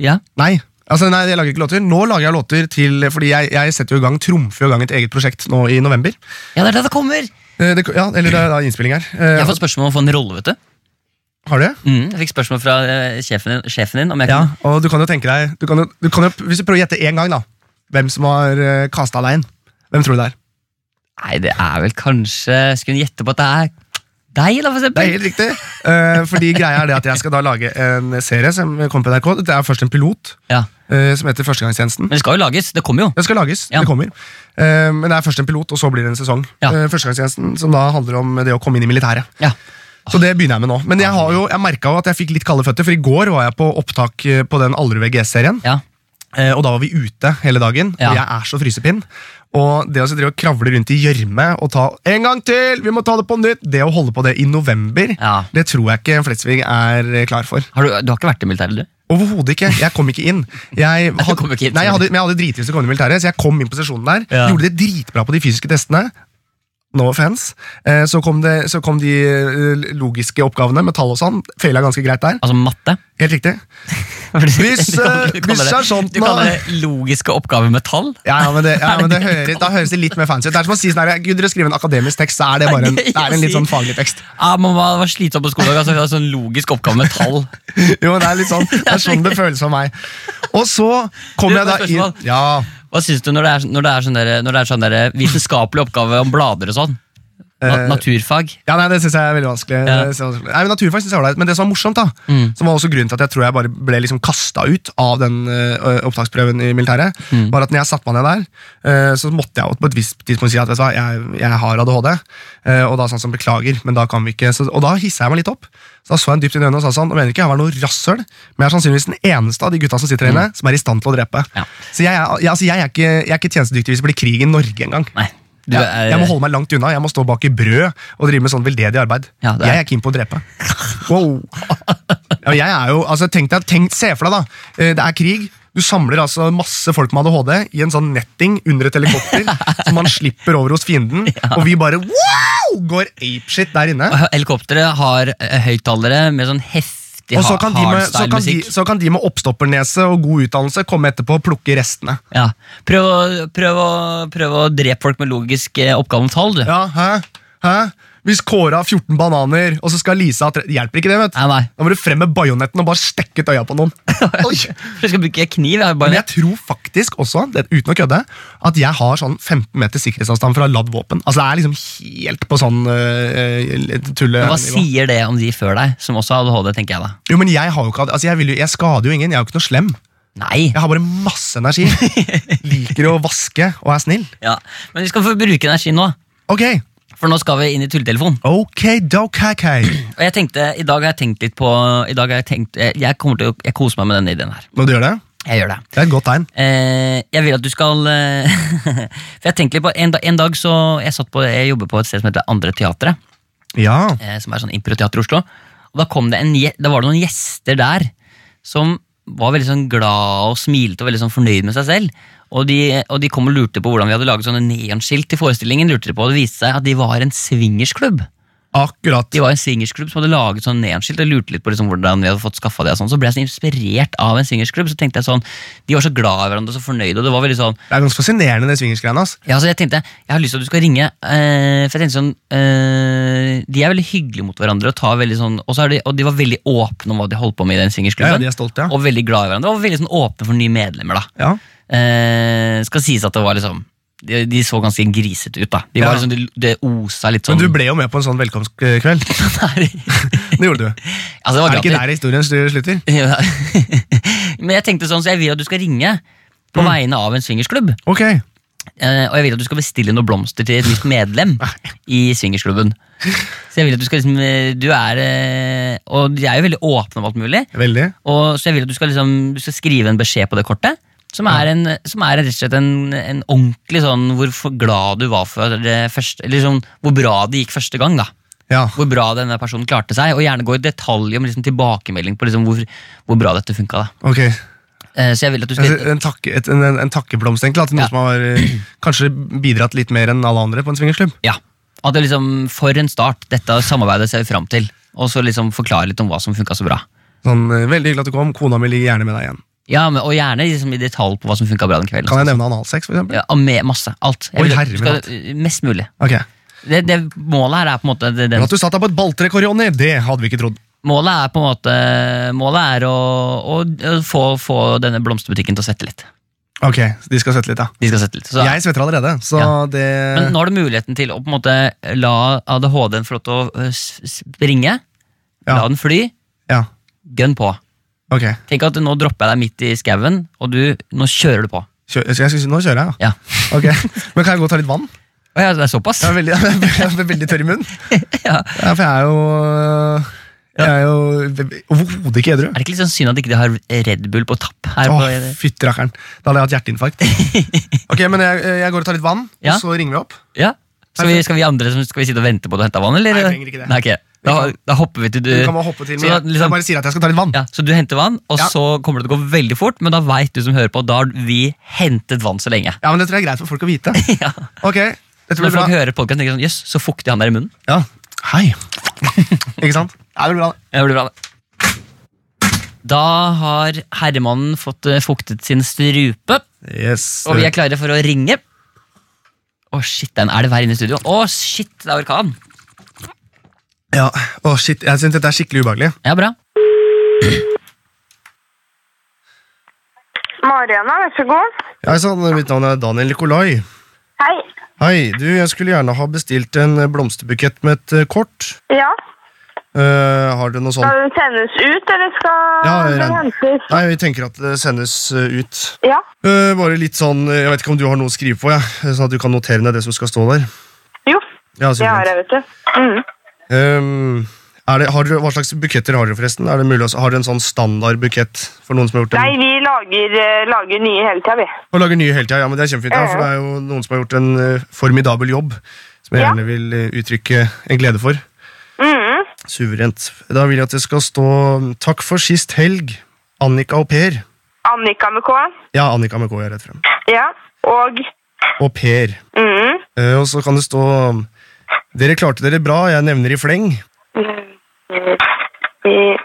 Speaker 4: Ja?
Speaker 3: Nei. Altså, nei, jeg lager ikke låter. Nå lager jeg låter til Fordi jeg, jeg setter jo i gang trumfer jo i gang et eget prosjekt nå i november.
Speaker 4: Ja, det er det det kommer!
Speaker 3: Eh, Det, ja, eller det er da innspilling her. Eh,
Speaker 4: Jeg har fått spørsmål om å få en rolle, vet du.
Speaker 3: Har du?
Speaker 4: Mm, jeg fikk spørsmål fra eh, sjefen, din, sjefen din om jeg
Speaker 3: Ja,
Speaker 4: kan
Speaker 3: og du kan jo tenke deg du kan jo, du kan jo, Hvis du prøver å gjette én gang, da. Hvem som har uh, kasta deg inn. Hvem tror du det er?
Speaker 4: Nei, det er vel kanskje Skulle hun gjette på at det er deg, da, for
Speaker 3: Det
Speaker 4: eksempel?
Speaker 3: er helt riktig. Eh, fordi greia er det at Jeg skal da lage en serie som kommer på NRK. Det er først en pilot
Speaker 4: Ja.
Speaker 3: eh, som heter Førstegangstjenesten.
Speaker 4: Men det skal jo lages. Det kommer jo.
Speaker 3: Den skal lages.
Speaker 4: Ja.
Speaker 3: Det kommer. Eh, men det er først en pilot, og så blir det en sesong.
Speaker 4: Ja.
Speaker 3: Eh, Førstegangstjenesten, som da handler om det å komme inn i militæret.
Speaker 4: Ja.
Speaker 3: Så det begynner jeg med nå. Men jeg, har jo, jeg merka jo at jeg fikk litt kalde føtter, for i går var jeg på opptak eh, på den Allerud VGS-serien.
Speaker 4: ja.
Speaker 3: Eh, Og da var vi ute hele dagen,
Speaker 4: Ja.
Speaker 3: og jeg er så frysepinn. Og det å så drive og kravle rundt i gjørme og ta 'en gang til, vi må ta det på nytt', det å holde på det i november,
Speaker 4: Ja.
Speaker 3: det tror jeg ikke Flesvig er eh, klar for.
Speaker 4: Har du, du har ikke vært i militæret, du?
Speaker 3: Overhodet ikke. Jeg kom ikke inn. Jeg hadde,
Speaker 4: kom ikke inn.
Speaker 3: Nei, jeg hadde, men jeg hadde dritlyst til å komme inn i militæret, så jeg kom inn på sesjonen der.
Speaker 4: Ja.
Speaker 3: Gjorde det dritbra på de fysiske testene. No offense. Eh, så, kom det, så kom de eh, logiske oppgavene med tall og sånn. Feila ganske greit der.
Speaker 4: Altså matte?
Speaker 3: Helt riktig. Hvis,
Speaker 4: Du kaller-
Speaker 3: eh,
Speaker 4: du kaller
Speaker 3: hvis
Speaker 4: det-
Speaker 3: sersjanten
Speaker 4: Du kaller
Speaker 3: har-
Speaker 4: det logiske oppgaver med tall?
Speaker 3: Ja, ja, men det, ja, men det høres, Da høres det litt mer fancy ut. Det er som å si sånn her, Gud, dere skriver en akademisk tekst, så er det bare en,
Speaker 4: Det er gøy
Speaker 3: det er
Speaker 4: å
Speaker 3: en litt
Speaker 4: si.
Speaker 3: sånn faglig tekst.
Speaker 4: Ja, Mamma var slitsom på skolen. Altså, det er sånn logisk oppgave med tall.
Speaker 3: Jo, det er litt sånn, det er sånn det føles for meg. Og så
Speaker 4: Du,
Speaker 3: kommer jeg da
Speaker 4: bare spørsmål.
Speaker 3: inn Ja,
Speaker 4: Hva syns du når det er, når det er sånn, der, når det er sånn der, vitenskapelig oppgave om blader og sånn? Na,
Speaker 3: Eh,
Speaker 4: naturfag?
Speaker 3: ja nei, det syns jeg er veldig vanskelig.
Speaker 4: Ja. Mm.
Speaker 3: Det synes jeg er vanskelig. Nei, men Naturfag synes jeg var det, men det som var morsomt, da, som var også grunnen til at jeg tror jeg bare ble liksom kasta ut av den øh, opptaksprøven i militæret,
Speaker 4: Mm.
Speaker 3: var at når jeg satte meg ned der, øh, så måtte jeg jo på et visst tidspunkt si at vet du hva, jeg, jeg har ADHD, øh, og da sånn som beklager, men da kan vi ikke så, Og da hissa jeg meg litt opp. Så da så jeg en dypt inn i øynene og sa sånn, og mener ikke jeg var noe rasshøl, men jeg er sannsynligvis den eneste av de gutta som sitter her inne, som er i stand til å drepe.
Speaker 4: Mm. Ja.
Speaker 3: Så jeg, er- jeg, altså, jeg, er ikke, jeg er ikke tjenestedyktig hvis det blir krig i Norge engang.
Speaker 4: Nei. Du eh,
Speaker 3: Ja,
Speaker 4: er,
Speaker 3: jeg må holde meg langt unna. Jeg må stå bak i brød og drive med sånn veldedig arbeid.
Speaker 4: Ja, det er-
Speaker 3: Jeg er keen på å drepe. Wow. Ja, jeg er jo, altså tenk deg, tenk, Se for deg, da. Eh, Det er krig. Du samler altså masse folk med ADHD i en sånn netting under et helikopter som man slipper over hos fienden, og vi bare wow, går apeshit der inne.
Speaker 4: Helikopteret har eh, høyttalere med sånn heftig
Speaker 3: Og så kan, de med, så, kan de,
Speaker 4: hardstyle-musikk.
Speaker 3: så kan de med oppstoppernese og god utdannelse komme etterpå og plukke restene.
Speaker 4: Ja. Prøv, å, prøv, å, prøv å drepe folk med logisk eh, oppgave om tall, du.
Speaker 3: Ja, hæ? Hæ? Hvis Kåre har 14 bananer, og så skal Lisa ha tre Hjelper ikke det, vet du.
Speaker 4: Nei, nei.
Speaker 3: Da må du frem med bajonetten og bare stekke ut øya på noen. Oi.
Speaker 4: For jeg skal bruke kniv. Jeg har
Speaker 3: Men
Speaker 4: bare
Speaker 3: jeg tror faktisk også, det, uten å kødde, at jeg har sånn 15 meter sikkerhetsavstand fra ladd våpen. Altså, det er liksom helt på sånn uh, tulle...
Speaker 4: Hva sier det om de før deg, som også har ADHD, tenker jeg da?
Speaker 3: Jo, men jeg har jo ikke... Altså, jeg, vil jo, jeg skader jo ingen, jeg er jo ikke noe slem.
Speaker 4: Nei.
Speaker 3: Jeg har bare masse energi. Liker å vaske og er snill.
Speaker 4: Ja. Men vi skal få bruke energi nå,
Speaker 3: Ok,
Speaker 4: for nå skal vi inn i tulletelefonen.
Speaker 3: ok, ok, ok.
Speaker 4: Og jeg tenkte, I dag har jeg tenkt litt på I dag har Jeg tenkt Jeg, jeg kommer til å Jeg koser meg med denne ideen her.
Speaker 3: Når du gjør det,
Speaker 4: Jeg gjør det.
Speaker 3: det er et godt tegn.
Speaker 4: Eh, jeg vil at du skal eh, For jeg tenkte litt på En, da, en dag så Jeg satt på Jeg jobber på et sted som heter Andre Teatret.
Speaker 3: Ja,
Speaker 4: eh, som er sånn improteater i Oslo. Og da, kom det en, gje- da var det noen gjester der som var veldig sånn glad og smilte og veldig sånn fornøyd med seg selv. Og de, og de kom og lurte på hvordan vi hadde laget sånne neonskilt til forestillingen. lurte de på, og Det viste seg at de var en swingersklubb.
Speaker 3: akkurat.
Speaker 4: De var en swingersklubb som hadde laget sånn neonskilt og lurte litt på liksom hvordan vi hadde fått skaffa det. og sånn. Så ble jeg så inspirert av en swingersklubb. så tenkte jeg sånn, De var så glad i hverandre og så fornøyde. og det var veldig sånn,
Speaker 3: Det er ganske fascinerende, det swingersgreiene, ass.
Speaker 4: ja, altså jeg tenkte, jeg har lyst til at du skal ringe, eh, for jeg tenkte sånn, eh, de er veldig hyggelige mot hverandre, og, tar veldig sånn, og, så er de, og de var veldig åpne om hva de holdt på med i den
Speaker 3: Ja, ja,
Speaker 4: swingersklubben,
Speaker 3: de er stolte, ja.
Speaker 4: og veldig glad i hverandre, og veldig sånn åpne for nye medlemmer da.
Speaker 3: Ja,
Speaker 4: Eh, skal sies at det var liksom, de, de så ganske griset ut da. De
Speaker 3: Ja.
Speaker 4: var liksom, det de osa litt sånn.
Speaker 3: men du ble jo med på en sånn velkomstkveld.
Speaker 4: Nei,
Speaker 3: Det gjorde du.
Speaker 4: altså det
Speaker 3: Er
Speaker 4: var
Speaker 3: det ikke
Speaker 4: gratis.
Speaker 3: der historien styr- slutter?
Speaker 4: Ja. Men jeg tenkte sånn, så jeg vil at du skal ringe på vegne av en swingersklubb.
Speaker 3: Ok,
Speaker 4: Eh, og jeg vil at du skal bestille noen blomster til et nytt medlem i swingersklubben. Så jeg vil at du skal liksom eh, Du er eh, Og de er jo veldig åpne om alt mulig.
Speaker 3: veldig.
Speaker 4: Og, så jeg vil at du skal, liksom, du skal skrive en beskjed på det kortet. Som er, en, som er rett og slett en, en ordentlig sånn hvor for glad du var for det første Eller sånn hvor bra det gikk første gang. da
Speaker 3: Ja,
Speaker 4: Hvor bra denne personen klarte seg. Og gjerne gå i detalj om liksom, tilbakemelding på liksom, hvor, hvor bra dette funka. da.
Speaker 3: ok.
Speaker 4: Eh, så jeg vil at du skal
Speaker 3: Altså, en, takke, et, en, en takkeblomst, egentlig. At noen
Speaker 4: Ja.
Speaker 3: som har eh, kanskje bidratt litt mer enn alle andre på en swingersklubb.
Speaker 4: Ja. At det liksom, For en start. Dette samarbeidet ser vi fram til. Og så liksom forklare litt om hva som funka så bra.
Speaker 3: Sånn, eh, veldig hyggelig at du kom. Kona mi ligger gjerne med deg igjen.
Speaker 4: Ja, men, Og gjerne liksom i detalj på hva som funka bra den kvelden.
Speaker 3: Kan jeg nevne analsex, for eksempel?
Speaker 4: Ja, og med masse. Alt. Jeg
Speaker 3: Oi,
Speaker 4: vil-
Speaker 3: herre
Speaker 4: skal- eh, mest mulig.
Speaker 3: Ok.
Speaker 4: Det, det, målet her er på en måte det,
Speaker 3: Men
Speaker 4: den,
Speaker 3: at du satt deg på et balltre, Kåre Jonny, det hadde vi ikke trodd.
Speaker 4: Målet er på en måte Målet er å, å, å få, få denne blomsterbutikken til å svette litt.
Speaker 3: Ok, De skal svette litt, da.
Speaker 4: De skal svette litt. Så,
Speaker 3: Jeg svetter allerede, så
Speaker 4: Ja.
Speaker 3: det
Speaker 4: men nå har du muligheten til å på en måte la ADHD-en få lov til å øh, s- springe.
Speaker 3: Ja.
Speaker 4: La den fly.
Speaker 3: Ja,
Speaker 4: Gønn på.
Speaker 3: ok.
Speaker 4: Tenk at nå dropper jeg deg midt i skauen, og du, nå kjører du på.
Speaker 3: Kjør, jeg skal, nå kjører jeg,
Speaker 4: Ja.
Speaker 3: ja. Ok, Men kan jeg gå og ta litt vann?
Speaker 4: Å ja, det er såpass?
Speaker 3: Jeg er veldig, jeg er veldig tørr i munnen.
Speaker 4: Ja.
Speaker 3: Ja, for jeg er jo Jeg er jo overhodet ikke edru.
Speaker 4: Er det ikke litt sånn synd at ikke de har Red Bull på tapp? her?
Speaker 3: Åh,
Speaker 4: På,
Speaker 3: fytterakkeren. Da hadde jeg hatt hjerteinfarkt. Ok, men jeg, jeg går og tar litt vann,
Speaker 4: Ja.
Speaker 3: og så ringer vi opp.
Speaker 4: ja? skal, vi, skal vi andre som- skal vi sitte og vente på at du henter vann? Eller?
Speaker 3: Nei, jeg trenger ikke det.
Speaker 4: Nei, ok. da, da hopper vi til du
Speaker 3: Du kan bare hoppe til
Speaker 4: så,
Speaker 3: men
Speaker 4: da,
Speaker 3: jeg, jeg
Speaker 4: liksom,
Speaker 3: bare sier at jeg skal ta litt vann.
Speaker 4: ja, så du henter vann, og
Speaker 3: Ja.
Speaker 4: så kommer det til å gå veldig fort, men da veit du som hører på, da har vi hentet vann så lenge.
Speaker 3: Ja, men Det tror jeg er greit for folk å vite.
Speaker 4: ja.
Speaker 3: Ok,
Speaker 4: Når
Speaker 3: dette blir
Speaker 4: folk
Speaker 3: bra.
Speaker 4: hører podkasten, tenker de sånn jøss, så fuktig han der i munnen.
Speaker 3: Ja. Hei. Ikke sant? Ja, det blir bra. det.
Speaker 4: Ja, Det blir bra, det. Da har herremannen fått eh, fuktet sin strupe.
Speaker 3: Yes.
Speaker 4: Og vi er klare for å ringe. Å, shit, den er det hver inne i studio. Å, shit, det er orkan.
Speaker 3: Ja, Åh, shit, Jeg syns dette er skikkelig ubehagelig.
Speaker 4: Ja, bra.
Speaker 1: Mariana, vær så god.
Speaker 3: Jeg er sånn, Mitt navn er Daniel Nikolai.
Speaker 1: Hei.
Speaker 3: Hei, du, jeg skulle gjerne ha bestilt en blomsterbukett med et eh, kort.
Speaker 1: Ja,
Speaker 3: Eh, har du noe sånt?
Speaker 1: skal den sendes ut, eller skal
Speaker 3: Ja, jeg
Speaker 1: den
Speaker 3: regner-
Speaker 1: hentes?
Speaker 3: Nei, vi tenker at det sendes eh, ut.
Speaker 1: Ja.
Speaker 3: Eh, bare litt sånn, eh, Jeg vet ikke om du har noe å skrive på, ja. sånn at du kan notere ned det som skal stå der.
Speaker 1: Jo,
Speaker 3: Ja,
Speaker 1: det har jeg, vet du. Mm.
Speaker 3: Um, er det, har dere, hva slags buketter har dere, forresten? Er det mulig, å- har dere en sånn standard bukett for noen som har gjort
Speaker 1: Nei,
Speaker 3: en,
Speaker 1: vi lager, eh, lager nye hele tida, vi.
Speaker 3: og lager nye hele tida? Ja, men det er kjempefint, ja, for det er jo noen som har gjort en eh, formidabel jobb, som jeg
Speaker 1: Ja.
Speaker 3: gjerne vil eh, uttrykke en glede for.
Speaker 1: Mm.
Speaker 3: Suverent. Da vil jeg at det skal stå 'Takk for sist helg, Annika og Per'.
Speaker 1: Annika med K.
Speaker 3: Ja, Annika med K, jeg er rett frem.
Speaker 1: Ja. Og
Speaker 3: Og Per.
Speaker 1: mm.
Speaker 3: Eh, og så kan det stå Dere klarte dere bra, jeg nevner i fleng.
Speaker 1: I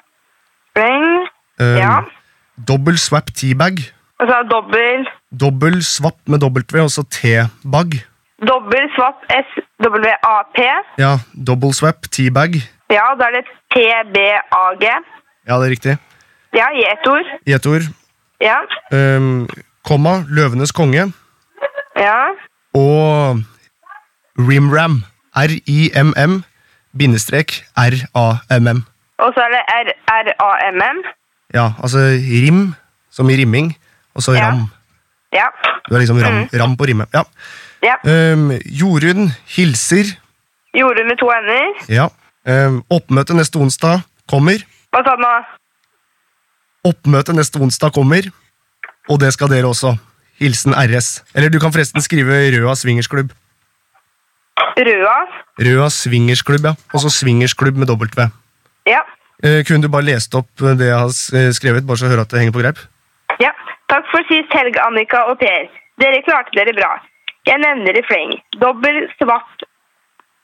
Speaker 1: Fleng.
Speaker 3: Um,
Speaker 1: Ja.
Speaker 3: Dobbel swap teabag.
Speaker 1: Og så dobbel
Speaker 3: Dobbel swapp med W, og så T-bag.
Speaker 1: Dobbel swap SWAP.
Speaker 3: Ja, double swap, teabag.
Speaker 1: Ja, da er det TBAG.
Speaker 3: Ja, det er riktig.
Speaker 1: Ja, i ett ord.
Speaker 3: I ett ord.
Speaker 1: Ja.
Speaker 3: Ehm, komma, Løvenes konge
Speaker 1: Ja.
Speaker 3: og Rimram. R-I-M-M, bindestrek R-A-M-M.
Speaker 1: Og så er det RRAMM.
Speaker 3: Ja, altså rim, som i rimming, og så
Speaker 1: Ja. Mm.
Speaker 3: ram.
Speaker 1: Ja.
Speaker 3: Du er liksom ram, ram på rimme. Ja.
Speaker 1: ja.
Speaker 3: Ehm, Jorunn hilser.
Speaker 1: Gjorde med to ender.
Speaker 3: Ja. Ehm, oppmøte neste onsdag kommer.
Speaker 1: Hva sa du nå?
Speaker 3: Oppmøte neste onsdag kommer, og det skal dere også. Hilsen RS. Eller du kan forresten skrive Røa swingersklubb.
Speaker 1: Røa.
Speaker 3: Røa swingersklubb, ja. Og så swingersklubb med W.
Speaker 1: Ja.
Speaker 3: Eh, kunne du bare lest opp det jeg har s- eh, skrevet, bare så jeg hører at det henger på greip?
Speaker 1: Ja. Takk for sist helg, Annika og Per. Dere klarte dere bra. Jeg nevner i fleng. Dobbel svart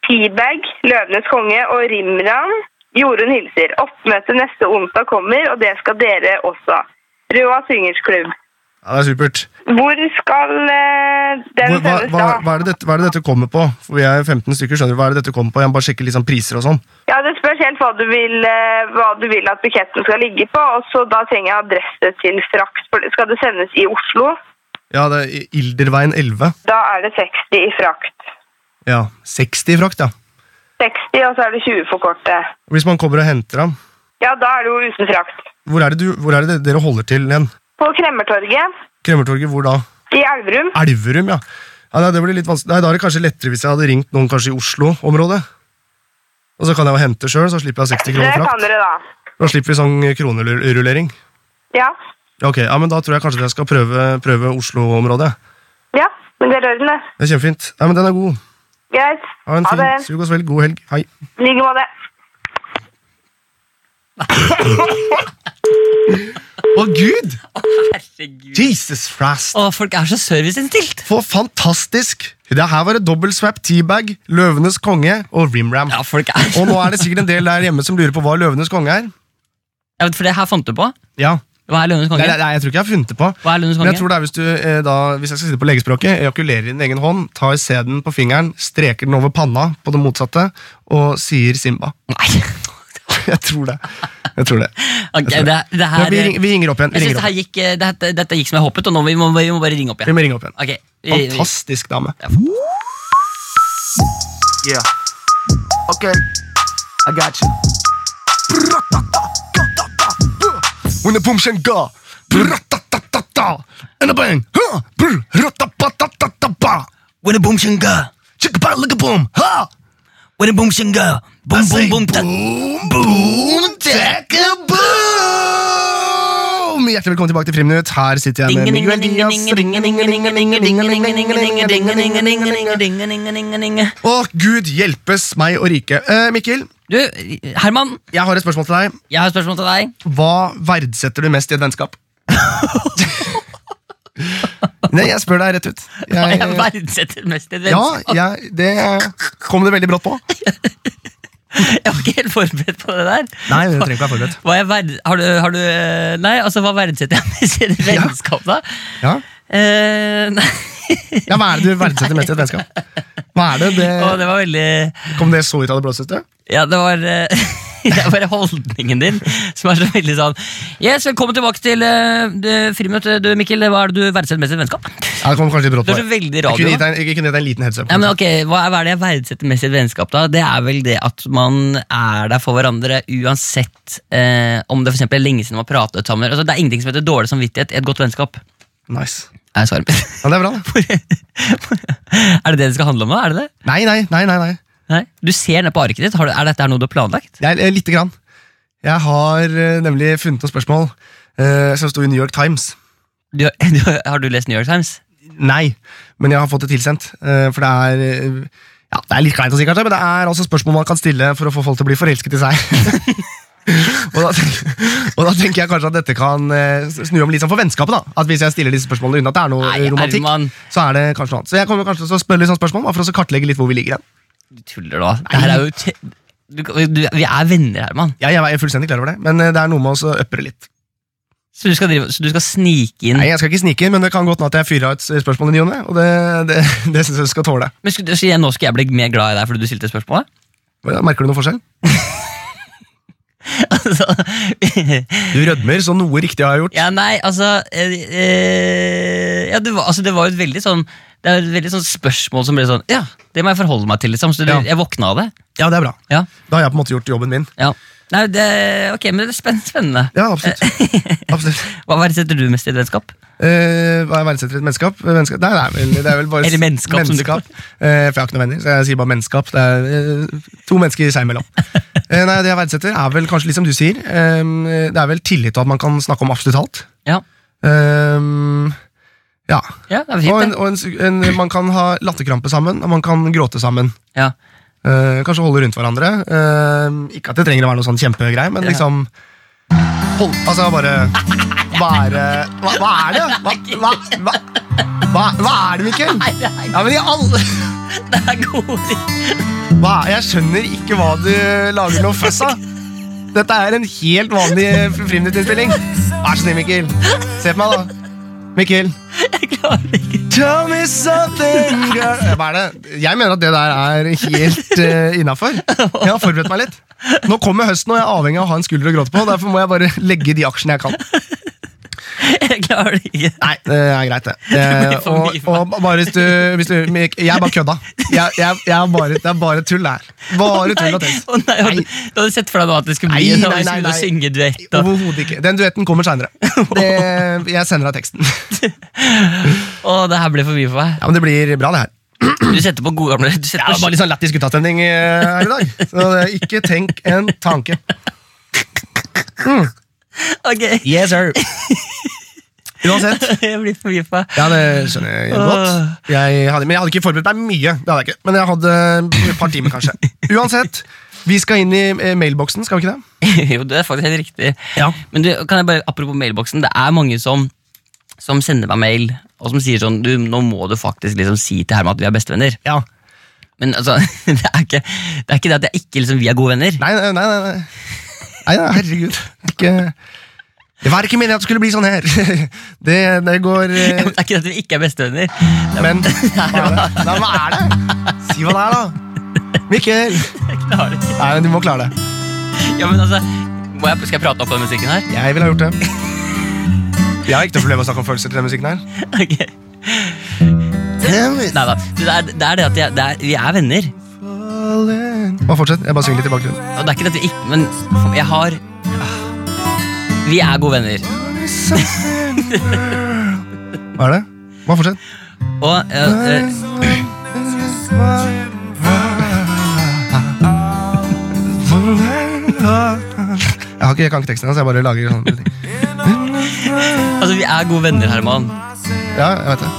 Speaker 1: teabag, Løvenes konge og Rimran. Jorunn hilser. Oppmøte neste onsdag kommer, og det skal dere også. Røa syngersklubb.
Speaker 3: Ja, det er supert.
Speaker 1: Hvor skal eh, den
Speaker 3: Hvor, hva,
Speaker 1: sendes
Speaker 3: hva,
Speaker 1: da?
Speaker 3: hva, er det dette, hva er det dette kommer på? For vi er jo 15 stykker, skjønner du. Hva er det dette kommer på? Jeg må bare sjekke liksom priser og sånn.
Speaker 1: Ja, Det spørs helt hva du, vil, eh, hva du vil at buketten skal ligge på. og så Da trenger jeg adresse til frakt. for Skal det sendes i Oslo,
Speaker 3: Ja, det er Ilderveien 11.
Speaker 1: da er det 60 i frakt.
Speaker 3: Ja, 60 i frakt, ja.
Speaker 1: 60, og så er det 20 for kortet.
Speaker 3: Hvis man kommer og henter ham.
Speaker 1: Ja, da er det jo uten frakt.
Speaker 3: Hvor er det, du, hvor er det dere holder til igjen?
Speaker 1: På Kremmertorget
Speaker 3: Kremmertorget, hvor da?
Speaker 1: i Elverum.
Speaker 3: Elverum, ja. ja nei, det blir litt vanskelig. Nei, da er det kanskje lettere hvis jeg hadde ringt noen kanskje i Oslo-området. Og så kan jeg jo hente sjøl, så slipper jeg 60
Speaker 1: Det
Speaker 3: kroner
Speaker 1: kan
Speaker 3: frakt.
Speaker 1: dere, da.
Speaker 3: Da slipper vi sånn kronerullering.
Speaker 1: Ja.
Speaker 3: Ja, Ok, ja, men Da tror jeg kanskje jeg skal prøve, prøve Oslo-området.
Speaker 1: ja, men det er orden, det.
Speaker 3: Det er kjempefint. Nei, men Den er god.
Speaker 1: Greit.
Speaker 3: Ha en
Speaker 1: Ha
Speaker 3: fin
Speaker 1: det.
Speaker 3: sug og svelg. God helg. Hei.
Speaker 1: I like måte.
Speaker 3: Å, gud!
Speaker 4: Herregud.
Speaker 3: Jesus frast!
Speaker 4: Å, folk er så serviceinnstilt!
Speaker 3: For fantastisk! Det her var et dobbelt swap teabag, Løvenes konge og rimram.
Speaker 4: Ja, folk er
Speaker 3: Og nå er det sikkert en del der hjemme som lurer på hva Løvenes konge er.
Speaker 4: Ja, For det her fant du på?
Speaker 3: Ja,
Speaker 4: Hva er Lønnes
Speaker 3: Nei,
Speaker 4: konge?
Speaker 3: nei, nei, jeg tror ikke jeg har funnet det på.
Speaker 4: Hva er Lønnes
Speaker 3: Men jeg
Speaker 4: konge?
Speaker 3: tror det er hvis du eh, da, hvis jeg skal sitte på legespråket, ejakulerer i din egen hånd, tar sæden på fingeren, streker den over panna på det motsatte og sier Simba.
Speaker 4: Nei.
Speaker 3: Jeg tror det. Jeg tror det.
Speaker 4: Ok, det, det
Speaker 3: Men
Speaker 4: her
Speaker 3: vi, ring, vi ringer opp igjen.
Speaker 4: Jeg
Speaker 3: Vi
Speaker 4: synes det
Speaker 3: ringer
Speaker 4: her
Speaker 3: opp.
Speaker 4: gikk, eh, dette, dette gikk som jeg håpet, og nå vi må vi må bare ringe opp
Speaker 3: Vi
Speaker 4: igjen.
Speaker 3: må ringe opp igjen.
Speaker 4: Ok, vi- vi-
Speaker 3: Fantastisk dame.
Speaker 6: Yeah. Okay. I got you.
Speaker 3: When the boom shen ga. Bra-ta-ta-ta-ta. And a bang. Huh. Bra-ta-ta-ta-ta-ba.
Speaker 4: When a boom shin go,
Speaker 3: Chicka-ba-licka-boom. Ha.
Speaker 4: when a boom shin go, boom boom boom ta-
Speaker 3: Boom, boom, takke, boom! Hjertelig velkommen tilbake til Friminutt. Her sitter jeg med Miguel Diaz. Å, gud hjelpes meg og rike. Eh, Mikkel,
Speaker 4: Du, Herman,
Speaker 3: jeg har et spørsmål til deg.
Speaker 4: jeg har et spørsmål til deg.
Speaker 3: Hva verdsetter du mest i et vennskap? Nei, jeg spør deg rett ut.
Speaker 4: Hva
Speaker 3: Jeg,
Speaker 4: jeg verdsetter mest i et
Speaker 3: ja,
Speaker 4: vennskap?
Speaker 3: jeg, det kom det veldig brått på.
Speaker 4: Jeg var ikke helt forberedt på det der.
Speaker 3: Nei, du trenger ikke være forberedt.
Speaker 4: Hva jeg verd... Har du, har du eh, Nei, altså, hva verdsetter jeg mest i et vennskap, da?
Speaker 3: Ja.
Speaker 4: Eh, nei.
Speaker 3: ja, eh. Hva er det du verdsetter mest i et vennskap? Hva er det?
Speaker 4: Å,
Speaker 3: det
Speaker 4: det var veldig
Speaker 3: kom det så ut av det blå, synes du?
Speaker 4: Ja, det var eh, Det er bare holdningen din som er så veldig sånn Yes, velkommen tilbake til eh, det frimøtet, du Mikkel. Hva er det du verdsetter mest i et vennskap?
Speaker 3: Ja, det kom kanskje litt brått
Speaker 4: Du
Speaker 3: på.
Speaker 4: er så veldig
Speaker 3: Jeg
Speaker 4: radio.
Speaker 3: kunne
Speaker 4: da.
Speaker 3: gitt deg en, jeg kunne gitt deg en liten heads up.
Speaker 4: Ja, men ok, hva er, hva er det jeg verdsetter mest i et vennskap? da? Det er vel det at man er der for hverandre uansett eh, om det for eksempel er lenge siden man har pratet sammen. Altså, det er ingenting som heter dårlig samvittighet i et godt vennskap.
Speaker 3: Nice.
Speaker 4: Er, svaret mitt.
Speaker 3: Ja, det er bra, det.
Speaker 4: Hvor- er det det det skal handle om? da? Er det det?
Speaker 3: Nei, nei, nei. nei, nei.
Speaker 4: Nei? Du ser ned på arket ditt. Har du, er dette her noe du har planlagt?
Speaker 3: Jeg, eh, lite grann. Jeg har eh, nemlig funnet noen spørsmål eh, som sto i New York Times.
Speaker 4: Du, har- du, har- har du lest New York Times?
Speaker 3: Nei, men jeg har fått det tilsendt. eh, For det er eh, ja, det er litt kleint å si, kanskje, men det er altså spørsmål man kan stille for å få folk til å bli forelsket i seg. og, da, tenk- og da tenker jeg kanskje at dette kan eh, snu om litt sånn for vennskapet. da At Hvis jeg stiller disse spørsmålene uten at det er noe
Speaker 4: Nei,
Speaker 3: eh, romantikk,
Speaker 4: Herman.
Speaker 3: så er det kanskje noe annet. Så jeg kommer kanskje til å spørre litt sånne spørsmål bare for å så kartlegge litt hvor vi ligger hen.
Speaker 4: Du tuller nå. Det her er jo te- du, du, vi er venner, Herman.
Speaker 3: Ja, jeg er fullstendig klar over det, men eh, det er noe med å så øppere litt.
Speaker 4: Så du skal, drive, så du skal snike inn
Speaker 3: Nei, jeg skal ikke snike inn, men det kan godt hende at jeg fyrer av et s- spørsmål i ny og ne. Og det, det, det syns jeg du skal tåle.
Speaker 4: Men skulle, du si, Nå skal jeg bli mer glad i deg fordi du stilte spørsmålet?
Speaker 3: Hva- Merker du noen forskjell?
Speaker 4: Altså,
Speaker 3: Du rødmer, så noe riktig har jeg gjort.
Speaker 4: Ja, nei, altså, eh, eh, ja, det, var, altså Det var jo et veldig sånn Det er et veldig sånn spørsmål som ble sånn Ja, det må jeg forholde meg til, liksom. Så det,
Speaker 3: Ja.
Speaker 4: jeg våkna av det.
Speaker 3: Ja, det er bra.
Speaker 4: Ja,
Speaker 3: Da har jeg på en måte gjort jobben min.
Speaker 4: ja. Nei, det, ok, men det er spenn- spennende.
Speaker 3: Ja, absolutt. absolutt.
Speaker 4: Hva verdsetter du mest i et vennskap?
Speaker 3: Eh, hva jeg verdsetter i et menneskap? Menneska- Nei, det er vel, det er vel bare
Speaker 4: Eller menneskap, som du kaller
Speaker 3: Eh, for jeg har ikke noen venner, så jeg sier bare menneskap. Det er eh, to mennesker seg imellom. Eh, nei, det jeg verdsetter, er vel kanskje litt som du sier. eh, det er vel tillit og at man kan snakke om absolutt alt.
Speaker 4: Ja,
Speaker 3: Eh, ja.
Speaker 4: ja det er
Speaker 3: Og, en,
Speaker 4: fint, det.
Speaker 3: og en, s- en, man kan ha latterkrampe sammen, og man kan gråte sammen.
Speaker 4: Ja.
Speaker 3: Eh, kanskje holde rundt hverandre. Eh, ikke at det trenger å være noe sånn kjempegreie, men
Speaker 4: Ja.
Speaker 3: liksom hold, Altså bare Være hva, hva er det? Hva, hva, hva, hva, hva er det, Mikkel?
Speaker 4: Nei, det er,
Speaker 3: Ja, men i alle
Speaker 4: det er god
Speaker 3: hva, er- Jeg skjønner ikke hva du lager noe føss av. Dette er en helt vanlig friminuttinnspilling. Vær så snill, Mikkel. Se på meg, da. Mikkel.
Speaker 4: Jeg klarer ikke
Speaker 3: Tell me something, girl Hva er det? Jeg mener at det der er helt uh, innafor. Jeg har forberedt meg litt. Nå kommer høsten, og jeg er avhengig av å ha en skulder å gråte på. Derfor må jeg bare legge de aksjene jeg kan.
Speaker 4: Jeg klarer det ikke.
Speaker 3: Nei, det er greit, det. Eh,
Speaker 4: blir for
Speaker 3: og,
Speaker 4: mye for
Speaker 3: og bare hvis du, hvis du Mik- Jeg er bare kødda. Jeg, jeg, jeg er bare, det er bare tull, det her. Bare tull og
Speaker 4: Nei,
Speaker 3: tøys.
Speaker 4: å nei, du, du hadde sett for deg nå at det skulle bli nei,
Speaker 3: Nei, nei,
Speaker 4: nei,
Speaker 3: nei,
Speaker 4: nei,
Speaker 3: nei.
Speaker 4: synge duett. Og,
Speaker 3: Overhodet ikke. Den duetten kommer seinere. Jeg sender deg teksten.
Speaker 4: å, det her ble for mye for meg.
Speaker 3: Ja, Men det blir bra, det her.
Speaker 4: Du setter på gode gamle du
Speaker 3: Det
Speaker 4: setter
Speaker 3: er
Speaker 4: på
Speaker 3: bare litt sånn lættis guttastemning eh, her i dag. Så eh, ikke tenk en tanke.
Speaker 4: Ok.
Speaker 3: Yes, sir. Uansett.
Speaker 4: Jeg blir for mye for meg.
Speaker 3: Ja, det skjønner jeg godt. Jeg hadde, men jeg hadde ikke forberedt meg mye. det hadde jeg ikke. Men jeg hadde eh, et par timer, kanskje. Uansett, vi skal inn i eh, mailboksen, skal vi ikke det?
Speaker 4: jo, det er faktisk helt riktig. Men du, kan jeg bare, apropos mailboksen, det er mange som, som sender meg mail og som sier sånn du, Nå må du faktisk liksom si til Herman at vi er bestevenner.
Speaker 3: Ja.
Speaker 4: Men altså, det er ikke det, er ikke det at jeg ikke liksom, vi er gode venner.
Speaker 3: Nei, nei, nei. nei. nei, nei herregud. Ikke... Det var ikke meningen at det skulle bli sånn her. Det, det går eh,
Speaker 4: Det er ikke det at vi ikke er bestevenner. Det er-
Speaker 3: Men hva er det? Nei, hva er det? Si hva det er, da. Mikkel!
Speaker 4: jeg klarer ikke.
Speaker 3: Nei, men Du må klare det.
Speaker 4: Ja, men altså, må jeg, Skal jeg prate opp den musikken her?
Speaker 3: Jeg ville ha gjort det. Jeg har ikke noe problem med å snakke om følelser til den musikken her.
Speaker 4: Ok. Nei da. Det er det, er det at jeg, det er, vi er venner.
Speaker 3: Bare fortsett. Jeg bare synger litt i bakgrunnen.
Speaker 4: Og det er ikke det at vi ikke Men jeg har ah, Vi er gode venner.
Speaker 3: Hva er det? Bare fortsett.
Speaker 4: Og eh, eh,
Speaker 3: Jeg, har ikke, jeg kan ikke teksten, så jeg bare lager sånn- sånne ting.
Speaker 4: Altså, vi er gode venner, Herman.
Speaker 3: Ja, jeg vet det.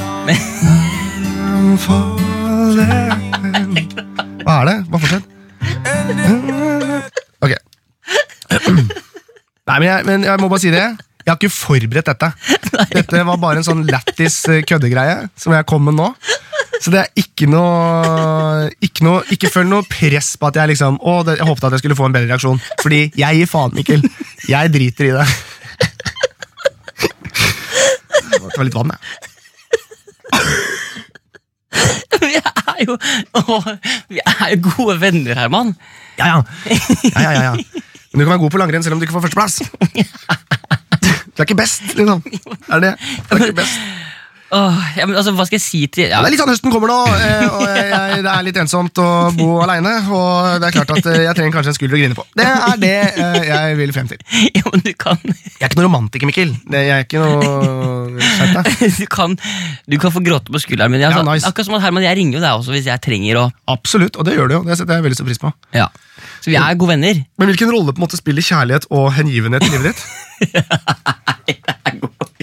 Speaker 3: Hva er det? Bare fortsett. Ok. Nei, men jeg, men jeg må bare si det. Jeg har ikke forberedt dette. Dette var bare en sånn lættis eh, køddegreie som jeg kom med nå. Så det er ikke noe Ikke, noe, ikke føl noe press på at jeg liksom Å, det, jeg håpet at jeg skulle få en bedre reaksjon. Fordi jeg gir faen, Mikkel. Jeg driter i det. Det var litt vann, jeg.
Speaker 4: Vi er jo, åh, vi er jo gode venner, Herman.
Speaker 3: Ja, ja. ja, ja, ja, ja. Men du kan være god på langrenn selv om du ikke får førsteplass. Du er ikke best, liksom. Er det du er ikke best.
Speaker 4: Åh, ja, men altså, Hva skal jeg si til ja,
Speaker 3: Det er litt sånn høsten kommer nå, eh, og jeg, jeg, det er litt ensomt å bo aleine. Og det er klart at eh, jeg trenger kanskje en skulder å grine på. Det er det eh, jeg vil frem til.
Speaker 4: ja, men du kan,
Speaker 3: Jeg er ikke noen romantiker, Mikkel. Det- Jeg er ikke noe Skjerp deg.
Speaker 4: du kan Du kan få gråte på skulderen min. Altså,
Speaker 3: Ja, nice.
Speaker 4: Akkurat som at Herman, jeg ringer jo deg også hvis jeg trenger å
Speaker 3: Absolutt, og det gjør du jo. Det setter jeg veldig stor pris på.
Speaker 4: ja. Så vi er gode venner.
Speaker 3: Men hvilken rolle på en måte spiller kjærlighet og hengivenhet i livet ditt?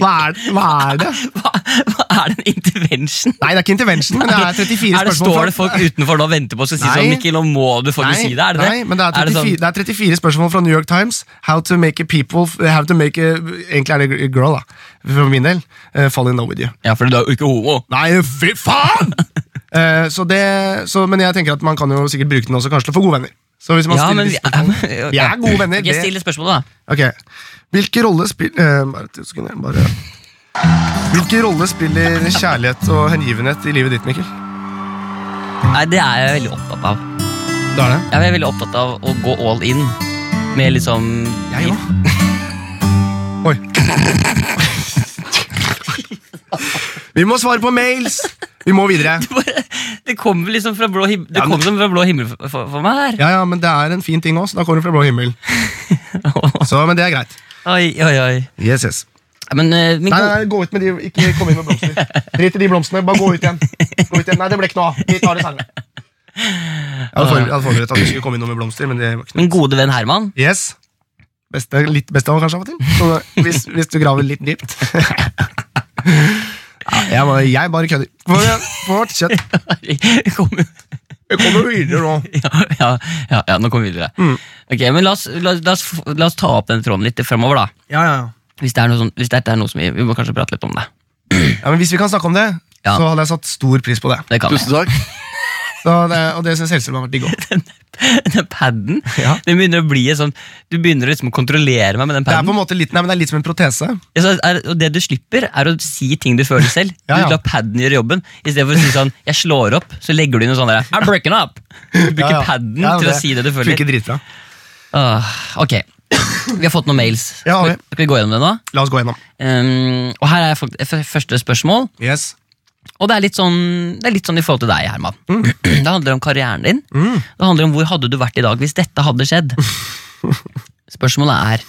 Speaker 3: Hva er, hva er det?
Speaker 4: Hva, hva er den intervention?
Speaker 3: Nei, det er ikke intervention, men det er
Speaker 4: Er
Speaker 3: 34
Speaker 4: det,
Speaker 3: spørsmål. fra-
Speaker 4: står det folk utenfor nå og venter på og skal si
Speaker 3: Nei.
Speaker 4: sånn Mikkel, nå må du få si det? Er det
Speaker 3: nei,
Speaker 4: det?
Speaker 3: men det er, 34,
Speaker 4: sånn-
Speaker 3: det er 34 spørsmål fra New York Times. How to make a people How to make a, Egentlig er det girl, da. For min del. eh, fall in love with you.
Speaker 4: Ja, for du er jo ikke homo.
Speaker 3: Nei, fy faen! Eh, så det, så, men jeg tenker at man kan jo sikkert bruke den også kanskje til å få gode venner. Så hvis man
Speaker 4: Ja,
Speaker 3: stiller
Speaker 4: men
Speaker 3: de
Speaker 4: vi
Speaker 3: spørsmålene- Vi er gode venner,
Speaker 4: Ok,
Speaker 3: det-
Speaker 4: Still spørsmålet, da.
Speaker 3: Ok, Hvilke rolle spiller Bare to sekunder. Bare. Hvilke rolle spiller kjærlighet og hengivenhet i livet ditt, Mikkel?
Speaker 4: Nei, Det er jeg veldig opptatt av.
Speaker 3: Det er
Speaker 4: Jeg
Speaker 3: det.
Speaker 4: er veldig opptatt av å gå all in. Med liksom
Speaker 3: Jeg òg. Oi. Vi må svare på mails! Vi må videre.
Speaker 4: Det kommer liksom fra blå, him det
Speaker 3: Ja, men-
Speaker 4: kommer som fra blå himmel for, for, for meg her.
Speaker 3: Ja, ja, men det er en fin ting òg, så da kommer det fra blå himmel. Så, men det er greit.
Speaker 4: Oi, oi, oi.
Speaker 3: Yes, yes.
Speaker 4: Ja, Men, eh, min
Speaker 3: Nei,
Speaker 4: gode-
Speaker 3: nei, nei, gå ut med de, ikke kom inn med blomster. Drit i de blomstene, bare gå ut igjen. Gå ut igjen. Nei, det ble ikke noe av. Vi tar det senere. Jeg hadde forberedt- jeg hadde forberedt at du skulle komme inn med blomster, men det var ikke noe.
Speaker 4: min gode venn Herman.
Speaker 3: Yes. Beste, litt beste av kanskje av og til. Så, hvis, hvis du graver litt dypt. Ja, jeg, bare, jeg bare kødder. Kom igjen, Fortsett.
Speaker 4: Kom-
Speaker 3: Jeg kommer videre nå.
Speaker 4: ja, ja, ja, ja, nå kommer vi videre.
Speaker 3: Mm.
Speaker 4: Ok, men la oss, la, oss- la, oss, f- la oss ta opp den tråden litt fremover, da.
Speaker 3: Ja, ja, ja.
Speaker 4: Hvis det er noe, sånn, hvis dette er noe som vi, vi må kanskje prate litt om det.
Speaker 3: Ja, men Hvis vi kan snakke om det,
Speaker 4: Ja.
Speaker 3: så hadde jeg satt stor pris på det.
Speaker 4: Det kan vi.
Speaker 7: Tusen takk.
Speaker 3: Så det og det syns Hellstrøm har vært digg òg.
Speaker 4: Den paden,
Speaker 3: Ja.
Speaker 4: den begynner å bli en sånn Du begynner liksom å kontrollere meg med den
Speaker 3: Det er på
Speaker 4: paden.
Speaker 3: en måte litt, nei, men det er litt som en protese.
Speaker 4: Jeg sa, er, og det du slipper, er å si ting du føler selv.
Speaker 3: Ja, ja.
Speaker 4: Du lar paden gjøre jobben. Istedenfor å si sånn 'jeg slår opp', så legger du inn noe sånt der. I'm breaking up! Du bruker
Speaker 3: Ja, ja.
Speaker 4: paden
Speaker 3: Ja,
Speaker 4: til å
Speaker 3: det
Speaker 4: si det du føler.
Speaker 3: Funker dritbra.
Speaker 4: Åh, ok, vi har fått noen mails.
Speaker 3: Ja, har vi.
Speaker 4: skal, vi, skal vi gå gjennom det nå?
Speaker 3: La oss gå gjennom.
Speaker 4: Um, og her er fakt- f- første spørsmål.
Speaker 3: Yes.
Speaker 4: Og det er litt sånn, det er litt sånn i forhold til deg, Herman.
Speaker 3: Mm.
Speaker 4: Det handler om karrieren din. Det handler om hvor hadde du vært i dag hvis dette hadde skjedd. Spørsmålet er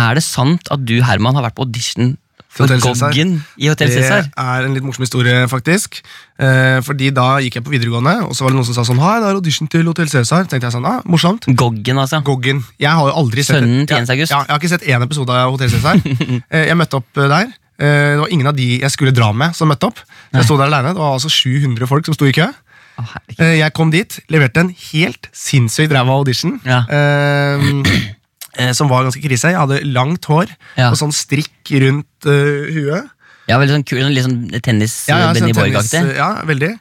Speaker 4: Er det sant at du, Herman, har vært på audition for
Speaker 3: Hotel Cæsar.
Speaker 4: Goggen i Hotell
Speaker 3: Det
Speaker 4: Cæsar?
Speaker 3: er en litt morsom historie, faktisk. Eh, fordi da gikk jeg på videregående, og så var det noen som sa sånn Hei, det er audition til Hotell Cæsar. Tenkte jeg sånn, ah, morsomt.
Speaker 4: Goggen, altså.
Speaker 3: Goggen. Jeg har jo aldri sett
Speaker 4: Sønnen
Speaker 3: Ja,
Speaker 4: 10. august.
Speaker 3: Ja, jeg har ikke sett én episode av Hotell Cæsar. Eh, jeg møtte opp eh, der. Eh, Det var ingen av de jeg skulle dra med, som møtte opp. Jeg sto der alene. Det var altså 700 folk som sto i kø.
Speaker 4: Å, herregud.
Speaker 3: Eh, Jeg kom dit, leverte en helt sinnssykt ræva audition.
Speaker 4: Ja.
Speaker 3: eh, eh, Som var ganske krise. Jeg hadde langt hår
Speaker 4: Ja.
Speaker 3: og sånn strikk rundt eh, huet.
Speaker 4: ja, veldig sånn kul, sånn, litt sånn tennis-Benny
Speaker 3: sånn tennis-
Speaker 4: Borg-aktig.
Speaker 3: ja, veldig.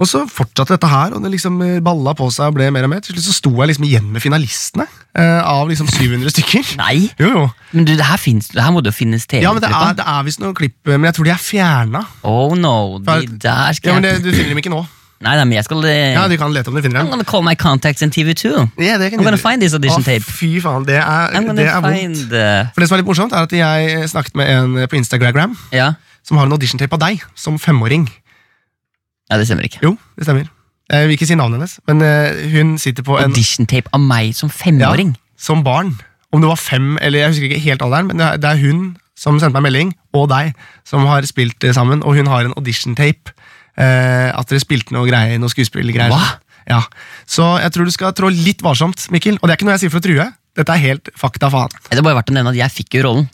Speaker 3: Og så fortsatte dette her, og det liksom eh, balla på seg og ble mer og mer. Til slutt så sto jeg liksom igjen med finalistene eh, av liksom 700 stykker.
Speaker 4: Nei,
Speaker 3: Jo, jo.
Speaker 4: men du, det her, finnes, det her må det jo finnes TV-klipp
Speaker 3: Ja, men det er, det er visst noen klipp, eh, men jeg tror de er fjerna.
Speaker 4: Oh no, de der skal
Speaker 3: Ja, men det,
Speaker 4: jeg
Speaker 3: du finner dem ikke nå.
Speaker 4: Nei, nei, men jeg skal eh,
Speaker 3: Ja, Du kan lete om du finner
Speaker 4: I'm
Speaker 3: dem.
Speaker 4: gonna call my contacts in TV2.
Speaker 3: Ja, det kan
Speaker 4: I'm
Speaker 3: du-
Speaker 4: gonna find this audition
Speaker 3: Å,
Speaker 4: tape.
Speaker 3: Fy faen, det er,
Speaker 4: I'm
Speaker 3: det
Speaker 4: gonna
Speaker 3: er vondt.
Speaker 4: find eh,
Speaker 3: For det som er litt morsomt, er at jeg snakket med en på Instagram
Speaker 4: ja.
Speaker 3: som har en auditiontape av deg som femåring.
Speaker 4: ja, det stemmer ikke.
Speaker 3: Jo, det stemmer. Jeg vil ikke si navnet hennes, men eh, hun sitter på en
Speaker 4: Auditiontape av meg som femåring.
Speaker 3: som barn. Om det var fem, eller jeg husker ikke helt alderen, men det er, det er hun som sendte meg en melding, og deg, som har spilt eh, sammen, og hun har en auditiontape. Eh, at dere spilte noe greier, noe skuespillgreier.
Speaker 4: Hva?
Speaker 3: Ja. Så jeg tror du skal trå litt varsomt, Mikkel. Og det er ikke noe jeg sier for å true. Dette er helt fakta faen.
Speaker 4: Det er bare verdt å nevne at jeg fikk jo rollen.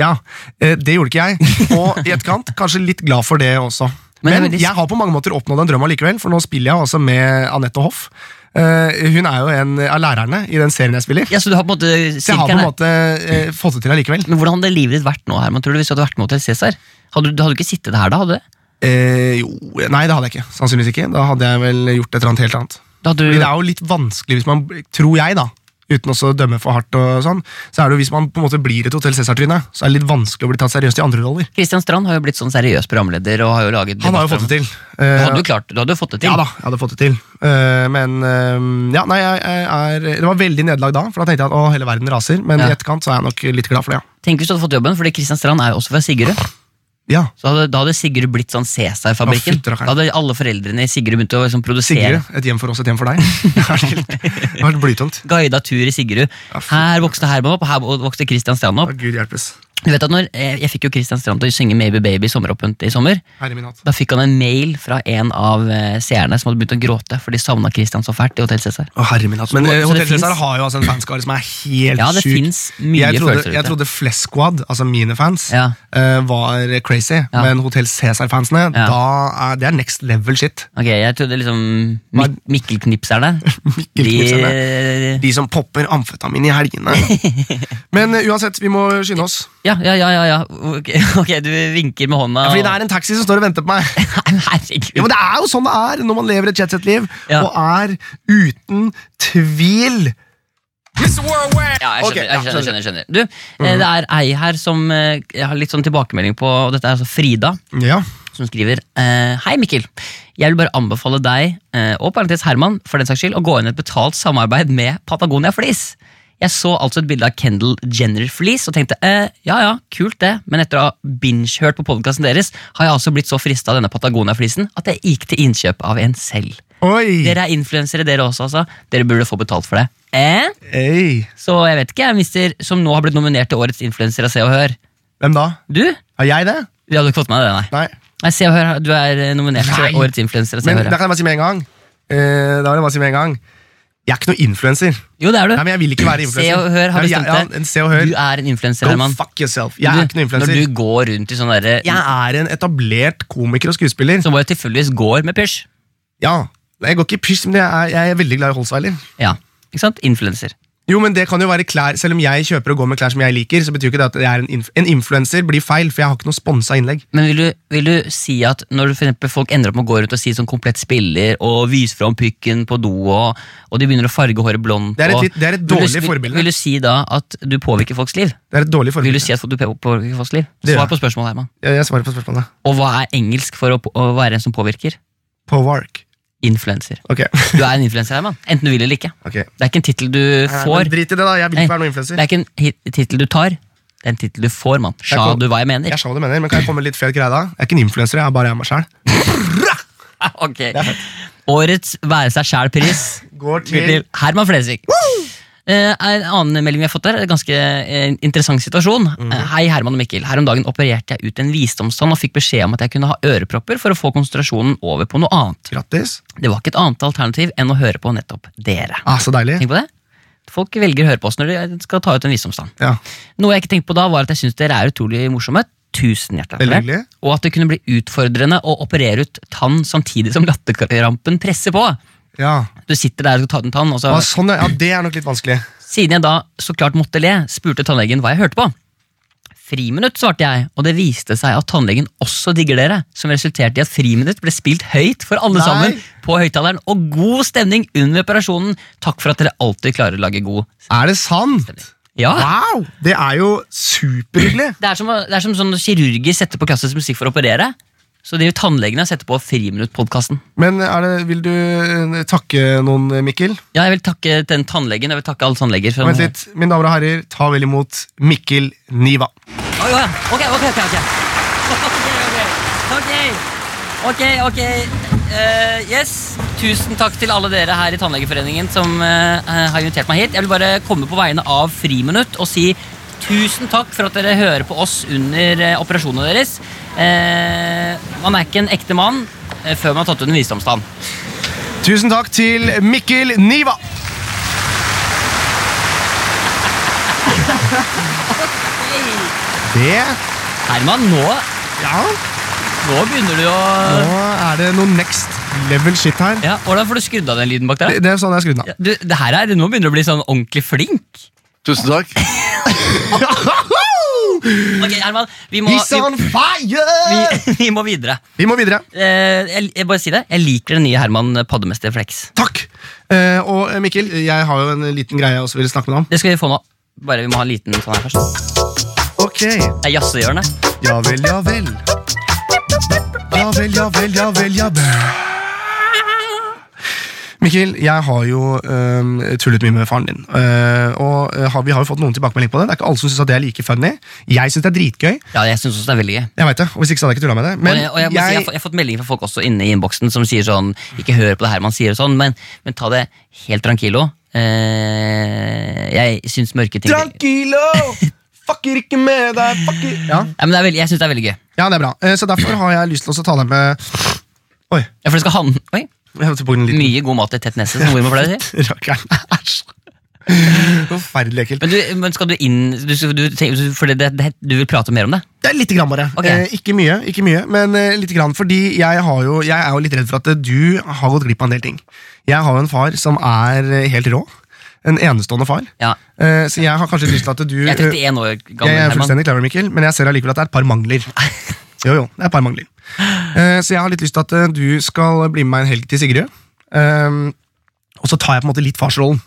Speaker 3: Ja, eh, det gjorde ikke jeg. Og i etterkant, kanskje litt glad for det også.
Speaker 4: Men det er
Speaker 3: Men
Speaker 4: veldig-
Speaker 3: jeg har på mange måter oppnådd en drøm allikevel, for nå spiller jeg altså med Anette Hoff. Eh, Hun er jo en av lærerne i den serien jeg spiller.
Speaker 4: Ja, Så du har på en måte
Speaker 3: Så jeg har på
Speaker 4: sirkelen
Speaker 3: en
Speaker 4: her.
Speaker 3: måte eh, fått det til allikevel.
Speaker 4: Men hvordan hadde livet ditt vært nå, Herman? Tror du hvis du hadde vært med Hotel Cæsar? Hadde, du- hadde du ikke sittet her da? hadde du?
Speaker 3: Eh, jo, nei, det hadde jeg ikke. Sannsynligvis ikke. Da hadde jeg vel gjort et eller annet helt annet.
Speaker 4: Da hadde
Speaker 3: Fordi
Speaker 4: du
Speaker 3: det er jo litt vanskelig hvis man, tror jeg da, uten også å dømme for hardt og sånn, så er det jo hvis man på en måte blir et Hotell Cæsar-tryne, så er det litt vanskelig å bli tatt seriøst i andre roller.
Speaker 4: Christian Strand har jo blitt sånn seriøs programleder. og har jo laget
Speaker 3: Han har jo fått det til. Eh,
Speaker 4: Du hadde jo klart, du hadde jo fått det til.
Speaker 3: Ja da, jeg hadde fått det til. Eh, men eh, ja, nei, jeg, jeg er Det var veldig nederlag da, for da tenkte jeg at å, hele verden raser. Men
Speaker 4: Ja.
Speaker 3: i etterkant så er jeg nok litt glad for det,
Speaker 4: Tenk hvis du hadde fått jobben, fordi Christian Strand er jo også fra Sigerud.
Speaker 3: ja. ja.
Speaker 4: Så hadde, da hadde Sigerud blitt sånn
Speaker 3: Å,
Speaker 4: Cæsar-fabrikken.
Speaker 3: fytti rakkeren.
Speaker 4: Da hadde alle foreldrene i Sigerud begynt å liksom, produsere.
Speaker 3: Sigrid, et hjem for oss, et hjem for deg. Det har vært, det har vært blytungt.
Speaker 4: Guida tur i Sigerud.
Speaker 3: Ja, fy-
Speaker 4: Her vokste Herman opp, og her vokste Christian Strand opp.
Speaker 3: Å, Gud hjelpes.
Speaker 4: Du vet at når eh, Jeg fikk jo Christian Strand til å synge Maybe Baby i sommeråpent i sommer.
Speaker 3: Herre min hatt.
Speaker 4: Da fikk han en mail fra en av eh, seerne som hadde begynt å gråte, for de savna Christian så fælt i Hotell Cæsar.
Speaker 3: Å, herre min hatt. Men
Speaker 4: Så- så
Speaker 3: eh,
Speaker 4: det
Speaker 3: Hotell Cæsar
Speaker 4: finnes-
Speaker 3: har jo altså en fanskare som er helt
Speaker 4: Ja, det
Speaker 3: sjuk.
Speaker 4: finnes mye
Speaker 3: jeg trodde,
Speaker 4: følelser ute.
Speaker 3: Jeg trodde Flesh Squad, altså mine fans,
Speaker 4: Ja.
Speaker 3: eh, var crazy.
Speaker 4: Ja.
Speaker 3: Men Hotell Cæsar-fansene,
Speaker 4: Ja.
Speaker 3: da er, det er next level shit.
Speaker 4: Ok, Jeg trodde liksom
Speaker 3: Hva-
Speaker 4: Mik Mikkelknipserne.
Speaker 3: Mikkelknipserne.
Speaker 4: De,
Speaker 3: De som popper amfetamin i helgene. Men eh, uansett, vi må skynde oss.
Speaker 4: Ja, ja, ja, ja, ja. Ok, ok, du vinker med hånda.
Speaker 3: Fordi det er en taxi som står og venter på meg.
Speaker 4: Nei, herregud.
Speaker 3: Ja, men Det er jo sånn det er når man lever et jetset-liv
Speaker 4: Ja.
Speaker 3: og er uten tvil
Speaker 4: Ja, jeg skjønner.
Speaker 3: Ok, ja,
Speaker 4: jeg skjønner, skjønner, skjønner. Du, eh, Det er ei her som eh, jeg har litt sånn tilbakemelding på, og dette er altså Frida,
Speaker 3: Ja.
Speaker 4: som skriver eh, Hei, Mikkel. Jeg vil bare anbefale deg, eh, og parentes Herman, for den saks skyld, å gå inn i et betalt samarbeid med Patagonia Fleece. Jeg så altså et bilde av Kendal Jenner Fleece og tenkte eh, ja ja, kult det, men etter å ha binge-hørt på podkasten deres, har jeg altså blitt så frista av denne Patagonia-fleecen at jeg gikk til innkjøp av en selv.
Speaker 3: Oi!
Speaker 4: Dere er influensere, dere også, altså. Dere burde få betalt for det. Eh?
Speaker 3: Ei.
Speaker 4: Så jeg vet ikke, jeg, mister, som nå har blitt nominert til årets influenser av Se og Hør.
Speaker 3: Hvem da?
Speaker 4: Du?
Speaker 3: Har jeg det?
Speaker 4: Du hadde ikke fått med deg det, nei.
Speaker 3: Nei.
Speaker 4: Nei, Se og Hør, du er eh, nominert
Speaker 3: Nei.
Speaker 4: til årets influenser av Se
Speaker 3: Men
Speaker 4: og Hør.
Speaker 3: da
Speaker 4: ja.
Speaker 3: kan jeg bare si med en gang. Eh, da vil jeg bare si med en gang. Jeg er ikke noe influenser.
Speaker 4: Jo, det er du.
Speaker 3: Nei, men jeg vil ikke være
Speaker 4: Se og
Speaker 3: influencer.
Speaker 4: Hør har
Speaker 3: Jeg- jeg-
Speaker 4: bestemt
Speaker 3: ja, en Se og Hør.
Speaker 4: Du er en influenser,
Speaker 3: Go
Speaker 4: Herman.
Speaker 3: fuck yourself. Jeg er
Speaker 4: Du,
Speaker 3: ikke noen influenser.
Speaker 4: Når du går rundt i sånn derre
Speaker 3: Jeg er en etablert komiker og skuespiller.
Speaker 4: Som bare tilfeldigvis går med pysj.
Speaker 3: Ja, Jeg går ikke i pysj, men jeg er, jeg er veldig glad i Holsweiler.
Speaker 4: Ja, ikke sant? Influenser.
Speaker 3: Jo, men det kan jo være klær Selv om jeg kjøper og går med klær som jeg liker, så betyr jo ikke det at jeg er en, inf en influenser. blir feil, for jeg har ikke noe sponsa innlegg.
Speaker 4: Men vil du, vil du si at når du for eksempel folk ender opp med å gå rundt og si sånn komplett spiller, og vise fram pykken på do, og, og de begynner å farge håret blondt
Speaker 3: Det er et
Speaker 4: og-
Speaker 3: litt- det er et
Speaker 4: Vil du-
Speaker 3: dårlig
Speaker 4: vil-
Speaker 3: forbilde.
Speaker 4: Vil du si da at du påvirker folks liv?
Speaker 3: Det er et dårlig
Speaker 4: Vil
Speaker 3: forbilde.
Speaker 4: du si at du på- påvirker folks liv?
Speaker 3: Det gjør
Speaker 4: Svar
Speaker 3: jeg.
Speaker 4: på spørsmålet, Herman.
Speaker 3: Jeg, jeg svarer på spørsmålet.
Speaker 4: Og hva er engelsk for å, på- å være en som påvirker?
Speaker 3: På work.
Speaker 4: Influenser.
Speaker 3: Ok.
Speaker 4: Du er en influenser, Herman. Enten du vil eller ikke.
Speaker 3: Ok.
Speaker 4: Det er ikke en tittel du
Speaker 3: Nei,
Speaker 4: får.
Speaker 3: Men drit i det, da. Jeg vil
Speaker 4: Nei,
Speaker 3: ikke være noen
Speaker 4: Det
Speaker 3: influenser.
Speaker 4: er ikke en hi- tittel du tar. Det er en tittel du får, mann. Sa
Speaker 3: kom-
Speaker 4: du hva jeg mener?
Speaker 3: Jeg skjønner hva du mener, men Kan jeg komme med litt fet greie da? Jeg er ikke en influenser, jeg er bare jeg meg sjæl.
Speaker 4: Ok. Årets være seg sjæl-pris.
Speaker 3: Går til
Speaker 4: til Herman Flesvig. Eh, en annen melding vi har fått der, en ganske eh, interessant situasjon.
Speaker 3: Mhm.
Speaker 4: Eh, Hei, Herman og Mikkel. Her om dagen opererte jeg ut en visdomstann og fikk beskjed om at jeg kunne ha ørepropper for å få konsentrasjonen over på noe annet.
Speaker 3: Grattis.
Speaker 4: Det var ikke et annet alternativ enn å høre på nettopp dere.
Speaker 3: Ah, så deilig.
Speaker 4: Tenk på det. Folk velger å høre på oss når de skal ta ut en visdomstann.
Speaker 3: Ja.
Speaker 4: Noe jeg ikke tenkte på da, var at jeg syns dere er utrolig morsomme. Tusen hjertelig
Speaker 3: Veldig
Speaker 4: takk for det.
Speaker 3: hyggelig.
Speaker 4: Og at det kunne bli utfordrende å operere ut tann samtidig som latterrampen presser på.
Speaker 3: Ja.
Speaker 4: Du sitter der og skal ta ut en tann, og så
Speaker 3: Ah, sånn, ja. ja, det er nok litt vanskelig.
Speaker 4: Siden jeg da så klart måtte le, spurte tannlegen hva jeg hørte på. Friminutt, svarte jeg, og det viste seg at tannlegen også digger dere, som resulterte i at friminutt ble spilt høyt for alle
Speaker 3: Nei.
Speaker 4: sammen på høyttaleren, og god stemning under operasjonen. Takk for at dere alltid klarer å lage god
Speaker 3: Er det sant?
Speaker 4: Ja!
Speaker 3: Wow! Det er jo superhyggelig.
Speaker 4: Det er som, å- det er som sånn når kirurger setter på klassisk musikk for å operere. Så de tannlegene setter på Friminutt-podkasten.
Speaker 3: Men er det, vil du eh, takke noen, Mikkel?
Speaker 4: Ja, jeg vil takke den tannlegen. Jeg vil takke alle tannleger. som-
Speaker 3: Vent litt. Mine damer og herrer, ta vel imot Mikkel Niva.
Speaker 4: Oi, oi, ok, ok, ok, ok. Ok, ok, ok. ok. Eh, yes, tusen takk til alle dere her i Tannlegeforeningen som eh, har invitert meg hit. Jeg vil bare komme på vegne av Friminutt og si tusen takk for at dere hører på oss under eh, operasjonene deres. Eh, man er ikke en ekte mann eh, før man har tatt ut en visdomstann.
Speaker 3: Tusen takk til Mikkel Niva. Det
Speaker 4: Herman, nå,
Speaker 3: Ja,
Speaker 4: nå begynner du å
Speaker 3: nå er det noe next level shit her.
Speaker 4: ja, Hvordan får du skrudd av den lyden bak
Speaker 3: Det,
Speaker 4: der?
Speaker 3: det er sånn jeg er skrudd av.
Speaker 4: Ja, Du, det her er, nå begynner du å bli sånn ordentlig flink.
Speaker 7: Tusen takk.
Speaker 4: Ok, Herman, vi må,
Speaker 3: He's
Speaker 4: vi,
Speaker 3: on fire!
Speaker 4: vi, vi må videre.
Speaker 3: Vi må videre.
Speaker 4: Eh, jeg, jeg bare si det, jeg liker den nye Herman Paddemester Flex.
Speaker 3: Takk. Eh, og eh, Mikkel, jeg har jo en liten greie jeg også vil snakke med deg om.
Speaker 4: Det skal vi få nå. Bare vi må ha en liten sånn her først.
Speaker 3: Ok.
Speaker 4: Det er jazzehjørnet.
Speaker 3: Ja vel, ja vel. Ja vel, ja vel, ja vel, ja vel. Mikkel, jeg har jo øhm, tullet mye med faren din. Øh, og øh, har, vi har jo fått noen tilbakemelding på det. Det er ikke alle som syns det er like funny. Jeg syns det er dritgøy.
Speaker 4: Ja, jeg synes også det er veldig gøy. Og
Speaker 3: Jeg vet det, og Hvis ikke så hadde jeg ikke tullet med det. Men
Speaker 4: jeg, og jeg, må si, jeg, har, fått- jeg har fått meldinger fra folk også inne i innboksen som sier sånn Ikke hør på det Herman sier, og sånn, men, men ta det helt tranquilo. Eh, jeg syns mørke ting Nei,
Speaker 3: Tranquilo! Fucker ikke med deg! Fucker. Ja.
Speaker 4: men det er veldig, Jeg syns det er veldig gøy.
Speaker 3: ja, det er bra. Eh, Så derfor har jeg lyst til å ta deg med Oi.
Speaker 4: Ja, for det skal handle Oi,
Speaker 3: Jeg holdt på å liten
Speaker 4: Mye god mat i tett nese, som mormor pleier å si.
Speaker 3: rakkeren. Æsj. Forferdelig ekkelt.
Speaker 4: Men, du, men skal du inn du, du, tenker- for det, det, du vil prate mer om det?
Speaker 3: Det er litt grann bare.
Speaker 4: Ok.
Speaker 3: Eh, ikke mye, ikke mye, men eh, litt grann. Fordi jeg, har jo, jeg er jo litt redd for at eh, du har gått glipp av en del ting. Jeg har jo en far som er eh, helt rå. en enestående far.
Speaker 4: Ja.
Speaker 3: Eh, så jeg har kanskje lyst til at du
Speaker 4: Jeg er 31 år gammel.
Speaker 3: jeg er
Speaker 4: Herman.
Speaker 3: fullstendig clever, Mikkel, men jeg ser allikevel at det er et par mangler. Jo, jo, det er et par mangler. Eh, så jeg har litt lyst til at eh, du skal bli med meg en helg til Sigrid. Ehm, og så tar jeg på en måte litt farsrollen.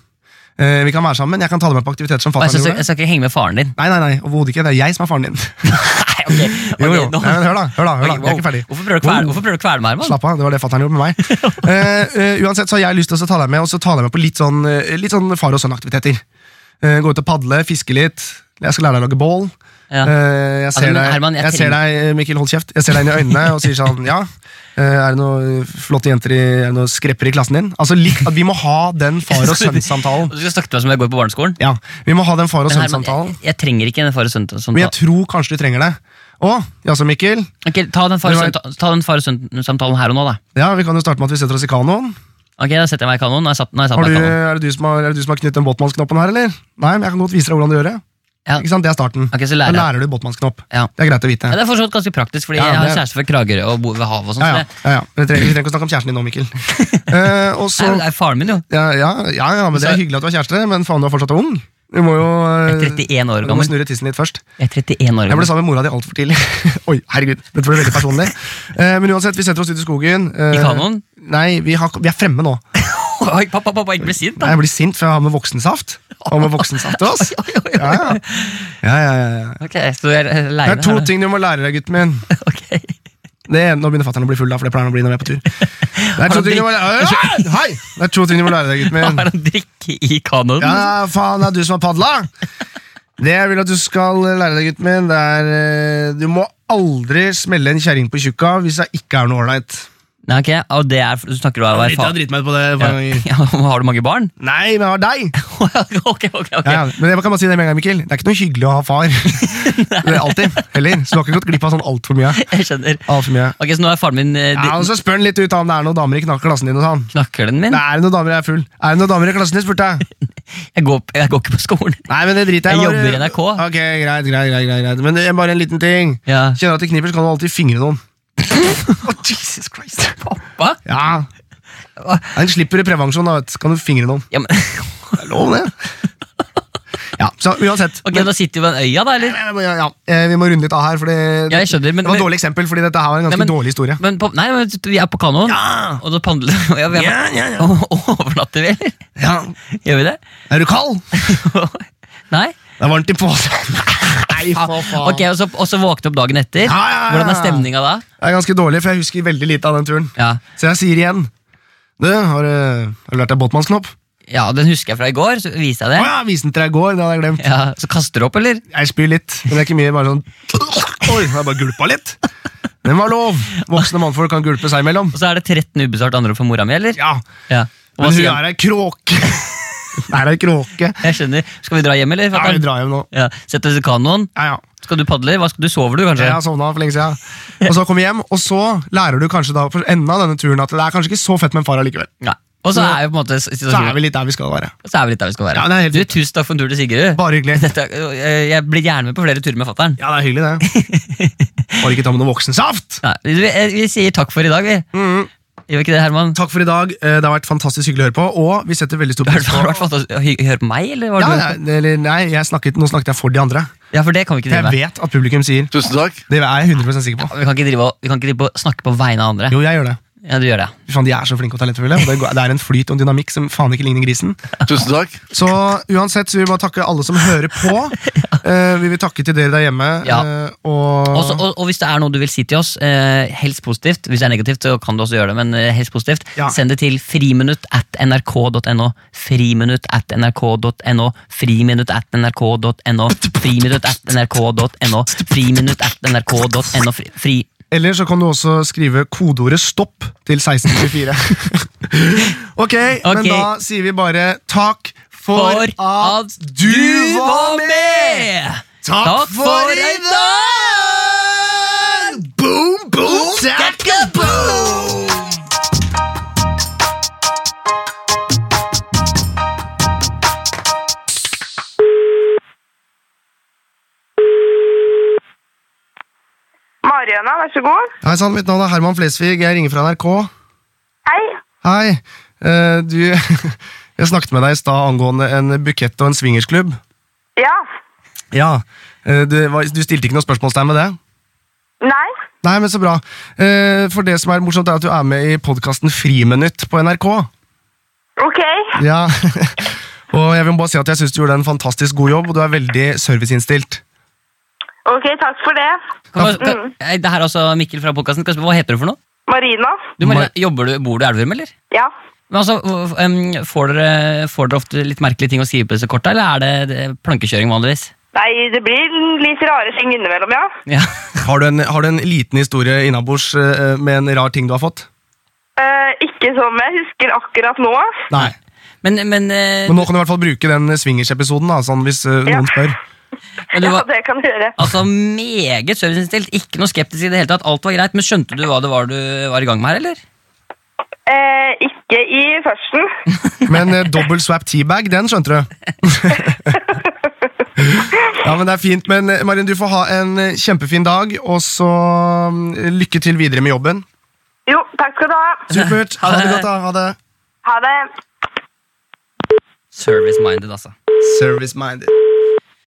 Speaker 3: Eh, vi kan være sammen, jeg kan ta deg med på aktiviteter som
Speaker 4: Og jeg, skal,
Speaker 3: fattern gjorde.
Speaker 4: jeg skal ikke henge med faren din.
Speaker 3: Nei, nei, nei, overhodet ikke. Det er jeg som er faren din.
Speaker 4: Nei, ok. ok,
Speaker 3: Jo, jo.
Speaker 4: nå-
Speaker 3: Nei, men hør da, hør da, hør da.
Speaker 4: Ok,
Speaker 3: Jeg er ikke ferdig.
Speaker 4: Hvorfor prøver du å kvele, hvorfor prøver du å kvele meg, Herman?
Speaker 3: Slapp av, det var det fattern gjorde med meg. Eh, eh, uansett så har jeg lyst til å ta deg med, og så ta deg med på litt sånn, eh, litt sånn far og sønn-aktiviteter. Eh, gå ut og padle, fiske litt. Jeg skal lære deg å lage bål.
Speaker 4: Ja.
Speaker 3: Eh, jeg ser,
Speaker 4: men
Speaker 3: deg,
Speaker 4: Herman,
Speaker 3: jeg
Speaker 4: jeg
Speaker 3: ser deg, Mikkel, hold kjeft. Jeg ser deg inn i øynene og sier sånn Ja, eh, er det noen flotte jenter i, er det noen skrepper i klassen din? Altså, litt, at Vi må ha den far og sønn-samtalen.
Speaker 4: Og Du skal snakke til meg som om jeg går på barneskolen.
Speaker 3: Ja, vi må ha den far og
Speaker 4: Men Herman,
Speaker 3: sønn-samtalen.
Speaker 4: jeg, jeg trenger ikke den far og
Speaker 3: Men jeg
Speaker 4: sønn-samtalen.
Speaker 3: tror kanskje du trenger det. Å, jaså, Mikkel.
Speaker 4: Ok, ta den far
Speaker 3: Det
Speaker 4: og
Speaker 3: var-
Speaker 4: sønn- ta den far og sønn-samtalen her og nå, da.
Speaker 3: Ja, Vi kan jo starte med at vi setter oss i kanoen.
Speaker 4: Ok, Da setter jeg meg i kanoen. Nå har jeg satt, nå har jeg satt
Speaker 3: Har
Speaker 4: meg
Speaker 3: du,
Speaker 4: i kanoen.
Speaker 3: er, det du som har, er det du som har knyttet den båtmannsknoppen her, eller? Nei, men jeg kan godt vise deg hvordan du gjør det.
Speaker 4: Ja.
Speaker 3: Ikke sant, Det er starten.
Speaker 4: Ok, så
Speaker 3: Da
Speaker 4: lærer jeg.
Speaker 3: lærer du båtmannsknopp.
Speaker 4: Ja.
Speaker 3: Det er greit å vite.
Speaker 4: Ja, det er for så vidt ganske praktisk, fordi
Speaker 3: Ja,
Speaker 4: jeg har
Speaker 3: det-
Speaker 4: en kjæreste fra Kragerø og bor ved havet. og sånt,
Speaker 3: Ja, ja,
Speaker 4: så
Speaker 3: ja, ja. Men Vi trenger, vi trenger ikke å snakke om kjæresten din nå, Mikkel. Eh, og
Speaker 4: det-
Speaker 3: så,
Speaker 4: Nei, men Det er faren min, jo.
Speaker 3: ja, ja, ja, ja, men Det
Speaker 4: Så-
Speaker 3: er hyggelig at du har kjæreste, men faen, du er fortsatt ung. Du må jo eh,
Speaker 4: Jeg er 31 år
Speaker 3: du må
Speaker 4: gammel.
Speaker 3: snurre tissen litt først.
Speaker 4: Jeg er 31 år
Speaker 3: Jeg ble
Speaker 4: gammel.
Speaker 3: sammen med mora di altfor tidlig. Oi, herregud, dette ble veldig personlig. Eh, men uansett, vi setter oss ut i skogen. eh,
Speaker 4: I kanoen?
Speaker 3: Nei, vi, har, vi er fremme nå. sånn-
Speaker 4: Oi, pappa, pappa, ikke bli sint,
Speaker 3: Nei,
Speaker 4: da.
Speaker 3: jeg blir sint, for jeg har med voksensaft. Og med voksensaft til oss. Ja, ja. Ja, ja, ja, ja.
Speaker 4: Ok, så jeg er
Speaker 3: Det
Speaker 4: leire
Speaker 3: er to ting du må lære deg, gutten min. Det ene, nå begynner fatter'n å bli full, da, for det pleier han å bli når vi er på tur. Det er to
Speaker 4: han
Speaker 3: ting du må lære Øy, Hei! Det er to ting du må lære deg, gutten min.
Speaker 4: Har han drikke i kanoen?
Speaker 3: Ja, faen, det er du som har padla! Det jeg vil at du skal lære deg, gutten min, det er eh, Du må aldri smelle en kjerring på tjukka hvis det ikke er noe ålreit.
Speaker 4: Nei, ok, og det er, du snakker du om å være far?
Speaker 3: driti meg ut på det
Speaker 4: Ja.
Speaker 3: et
Speaker 4: Ja, har du mange barn?
Speaker 3: Nei, men jeg har deg!
Speaker 4: ok, ok, ok.
Speaker 3: Ja, ja. Men jeg kan bare si det med en gang, Mikkel. Det er ikke noe hyggelig å ha far. Det er alltid, heller. Så du har ikke gått glipp av sånn altfor mye.
Speaker 4: Jeg skjønner.
Speaker 3: Alt for mye.
Speaker 4: Ok, så nå er faren min eh,
Speaker 3: Ja, og
Speaker 4: de,
Speaker 3: Så spør han litt ut da, om det er noen damer i knak- klassen din. og sånn.
Speaker 4: Knakker den min?
Speaker 3: Nei, Er det noen damer jeg er full? Er det noen damer i klassen din? spurte jeg.
Speaker 4: Jeg går, jeg går ikke på skolen.
Speaker 3: Nei, men det driter jeg
Speaker 4: Jeg
Speaker 3: bare-
Speaker 4: jobber i NRK.
Speaker 3: Ok, greit, greit, greit, greit, greit. Men det er bare en liten ting.
Speaker 4: Ja.
Speaker 3: Kjenner du at det kniper, så kan du alltid fingre noen.
Speaker 4: Jesus Christ. Pappa?
Speaker 3: Ja. Den slipper i prevensjon, da, vet du. Kan du fingre noen.
Speaker 4: Ja, men,
Speaker 3: Det er lov, det. Ja, så uansett.
Speaker 4: ok, da sitter vi ved den øya da, eller?
Speaker 3: Ja, ja, eh, vi må runde litt av her, for det,
Speaker 4: Ja, jeg skjønner, men-
Speaker 3: det var et
Speaker 4: men-
Speaker 3: dårlig eksempel, fordi dette her var en ganske
Speaker 4: Nei, men-
Speaker 3: dårlig historie.
Speaker 4: Men på, nei, men vi er på kanoen, og da pandler ja, vi. Er, Og, overnatter vi, eller?
Speaker 3: Ja.
Speaker 4: Gjør vi det?
Speaker 3: Er du kald? Det
Speaker 4: nei?
Speaker 3: er varmt i posen. Nei, for faen.
Speaker 4: Ok, og så, og så våkne opp dagen etter.
Speaker 3: Ja, ja, ja, ja.
Speaker 4: Hvordan er stemninga da?
Speaker 3: Det er ganske dårlig, for jeg husker veldig lite av den turen.
Speaker 4: Ja.
Speaker 3: Så jeg sier igjen Du, har, du- har du lært deg båtmannsknopp?
Speaker 4: ja, den husker jeg fra i går, så viste
Speaker 3: Å
Speaker 4: jeg det.
Speaker 3: ja, viste den til deg i går, det hadde jeg glemt.
Speaker 4: Ja, så kaster du opp, eller?
Speaker 3: Jeg spyr litt, men det er ikke mye, bare sånn Oi, jeg bare gulpa litt. Den var lov. Voksne mannfolk kan gulpe seg imellom.
Speaker 4: Og så er det 13 ubesvart andre for mora mi, eller?
Speaker 3: Ja,
Speaker 4: Ja. Og hva
Speaker 3: men hun
Speaker 4: sier han?
Speaker 3: er ei kråke. Hun er ei kråke.
Speaker 4: Jeg skjønner. Skal vi dra hjem, eller?
Speaker 3: Ja,
Speaker 4: fatter'n?
Speaker 3: vi drar hjem nå.
Speaker 4: Ja, Sett oss i kanoen.
Speaker 3: Ja, ja.
Speaker 4: Skal du padle? Hva skal du Sover du, kanskje?
Speaker 3: Jeg har sovna for lenge siden. Og så kommer vi hjem, og så lærer du kanskje da for enden av denne turen at det er kanskje ikke så fett med en far allikevel.
Speaker 4: Nei. Og så er vi på en måte
Speaker 3: Så er
Speaker 4: situasjonen
Speaker 3: vi litt der vi skal være.
Speaker 4: Så er vi litt der vi skal være.
Speaker 3: Ja, det er helt
Speaker 4: du, Tusen takk for en tur til Sigurd.
Speaker 3: Bare hyggelig.
Speaker 4: Dette, øh, jeg blir gjerne med på flere turer med fatter'n.
Speaker 3: Ja, det er hyggelig, det. Bare ikke ta med noe voksensaft!
Speaker 4: Nei, Vi, eh, vi sier takk for i dag, vi.
Speaker 3: Mm.
Speaker 4: Gjør vi ikke det, Herman?
Speaker 3: Takk for i dag. Eh, Det har vært fantastisk hyggelig å høre på, og vi setter veldig stor
Speaker 4: Har
Speaker 3: pris
Speaker 4: du har du
Speaker 3: på
Speaker 4: vært fantastisk å hy- høre på meg, eller? Var
Speaker 3: ja,
Speaker 4: du,
Speaker 3: ja, eller, Nei, jeg snakket, nå snakket jeg for de andre.
Speaker 4: Ja, for det kan vi ikke
Speaker 3: For
Speaker 4: drive
Speaker 3: jeg
Speaker 4: med.
Speaker 3: vet at publikum sier
Speaker 7: Tusen takk.
Speaker 3: Det er jeg 100 sikker på.
Speaker 4: Vi kan ikke drive og, vi kan ikke drive og snakke på vegne av andre.
Speaker 3: Jo, jeg gjør det.
Speaker 4: Ja, du gjør det.
Speaker 3: Fy faen, de er så flinke og talentfulle. Og det går- det er en flyt og en dynamikk som faen ikke ligner grisen.
Speaker 7: Tusen takk.
Speaker 3: Så uansett så vil vi bare takke alle som hører på. Eh, vi vil takke til dere der hjemme.
Speaker 4: Ja.
Speaker 3: eh, og
Speaker 4: Og så- og, og hvis det er noe du vil si til oss, eh, helst positivt. Hvis det er negativt, så kan du også gjøre det, men eh, helst positivt.
Speaker 3: Ja.
Speaker 4: Send det til friminutt at nrk.no. Friminutt at nrk.no. Friminutt at nrk.no. Friminutt at nrk.no. Friminutt at nrk.no. Fri, fri.
Speaker 3: Eller så kan du også skrive kodeordet 'stopp' til 1624. ok, men
Speaker 4: Ok.
Speaker 3: da sier vi bare takk for,
Speaker 4: For
Speaker 3: at
Speaker 4: at du var med!
Speaker 3: Takk,
Speaker 4: Takk for i
Speaker 3: dag! Boom, boom, takka, boom!
Speaker 1: Mariana, vær så god.
Speaker 3: Hei sann, mitt navn er Herman Flesvig. Jeg ringer fra NRK.
Speaker 1: Hei.
Speaker 3: Hei. eh, du Jeg Jeg snakket med deg i stad angående en bukett og en swingersklubb.
Speaker 1: Ja.
Speaker 3: Ja, eh, du, var- du stilte ikke noe spørsmålstegn med det?
Speaker 1: Nei.
Speaker 3: Nei, men så bra. Eh, For det som er morsomt, er at du er med i podkasten Friminutt på NRK.
Speaker 1: Ok.
Speaker 3: Ja, og jeg vil bare si at jeg synes du gjorde en fantastisk god jobb, og du er veldig serviceinnstilt.
Speaker 1: Ok, takk for det.
Speaker 4: Kan, kan, eh, det her er også Mikkel fra podkasten. Hva heter du for noe?
Speaker 1: Marina.
Speaker 4: Du, Marina, jobber du, Bor du i Elverum, eller?
Speaker 1: Ja.
Speaker 4: Men altså, hva- em, får, dere, får dere ofte litt merkelige ting å skrive på disse korta, eller er det, det plankekjøring vanligvis?
Speaker 1: Nei, det blir litt rare ting innimellom, ja.
Speaker 4: Ja.
Speaker 3: Har du en, har du en liten historie innabords eh, med en rar ting du har fått?
Speaker 1: Eh, ikke som jeg husker akkurat nå.
Speaker 3: Nei.
Speaker 4: Men, men, eh,
Speaker 3: Men nå kan du i hvert fall bruke den swingers-episoden, da, sånn hvis eh,
Speaker 1: Ja.
Speaker 3: noen spør.
Speaker 4: men du
Speaker 1: Ja,
Speaker 4: var
Speaker 1: det kan du gjøre.
Speaker 4: altså, meget serviceinnstilt, ikke noe skeptisk i det hele tatt. Alt var greit, men skjønte du hva det var du var i gang med her, eller?
Speaker 1: Eh, ikke i førsten.
Speaker 3: Men eh, dobbel swap teabag, den skjønte du. ja, men det er fint. Men eh, Marin, du får ha en eh, kjempefin dag, og så mm, lykke til videre med jobben.
Speaker 1: Jo, takk skal du ha.
Speaker 3: Supert. Ha
Speaker 4: Ha
Speaker 3: det
Speaker 4: det.
Speaker 3: godt, da. Ha det.
Speaker 1: Ha det.
Speaker 4: Service-minded, altså.
Speaker 3: Service minded.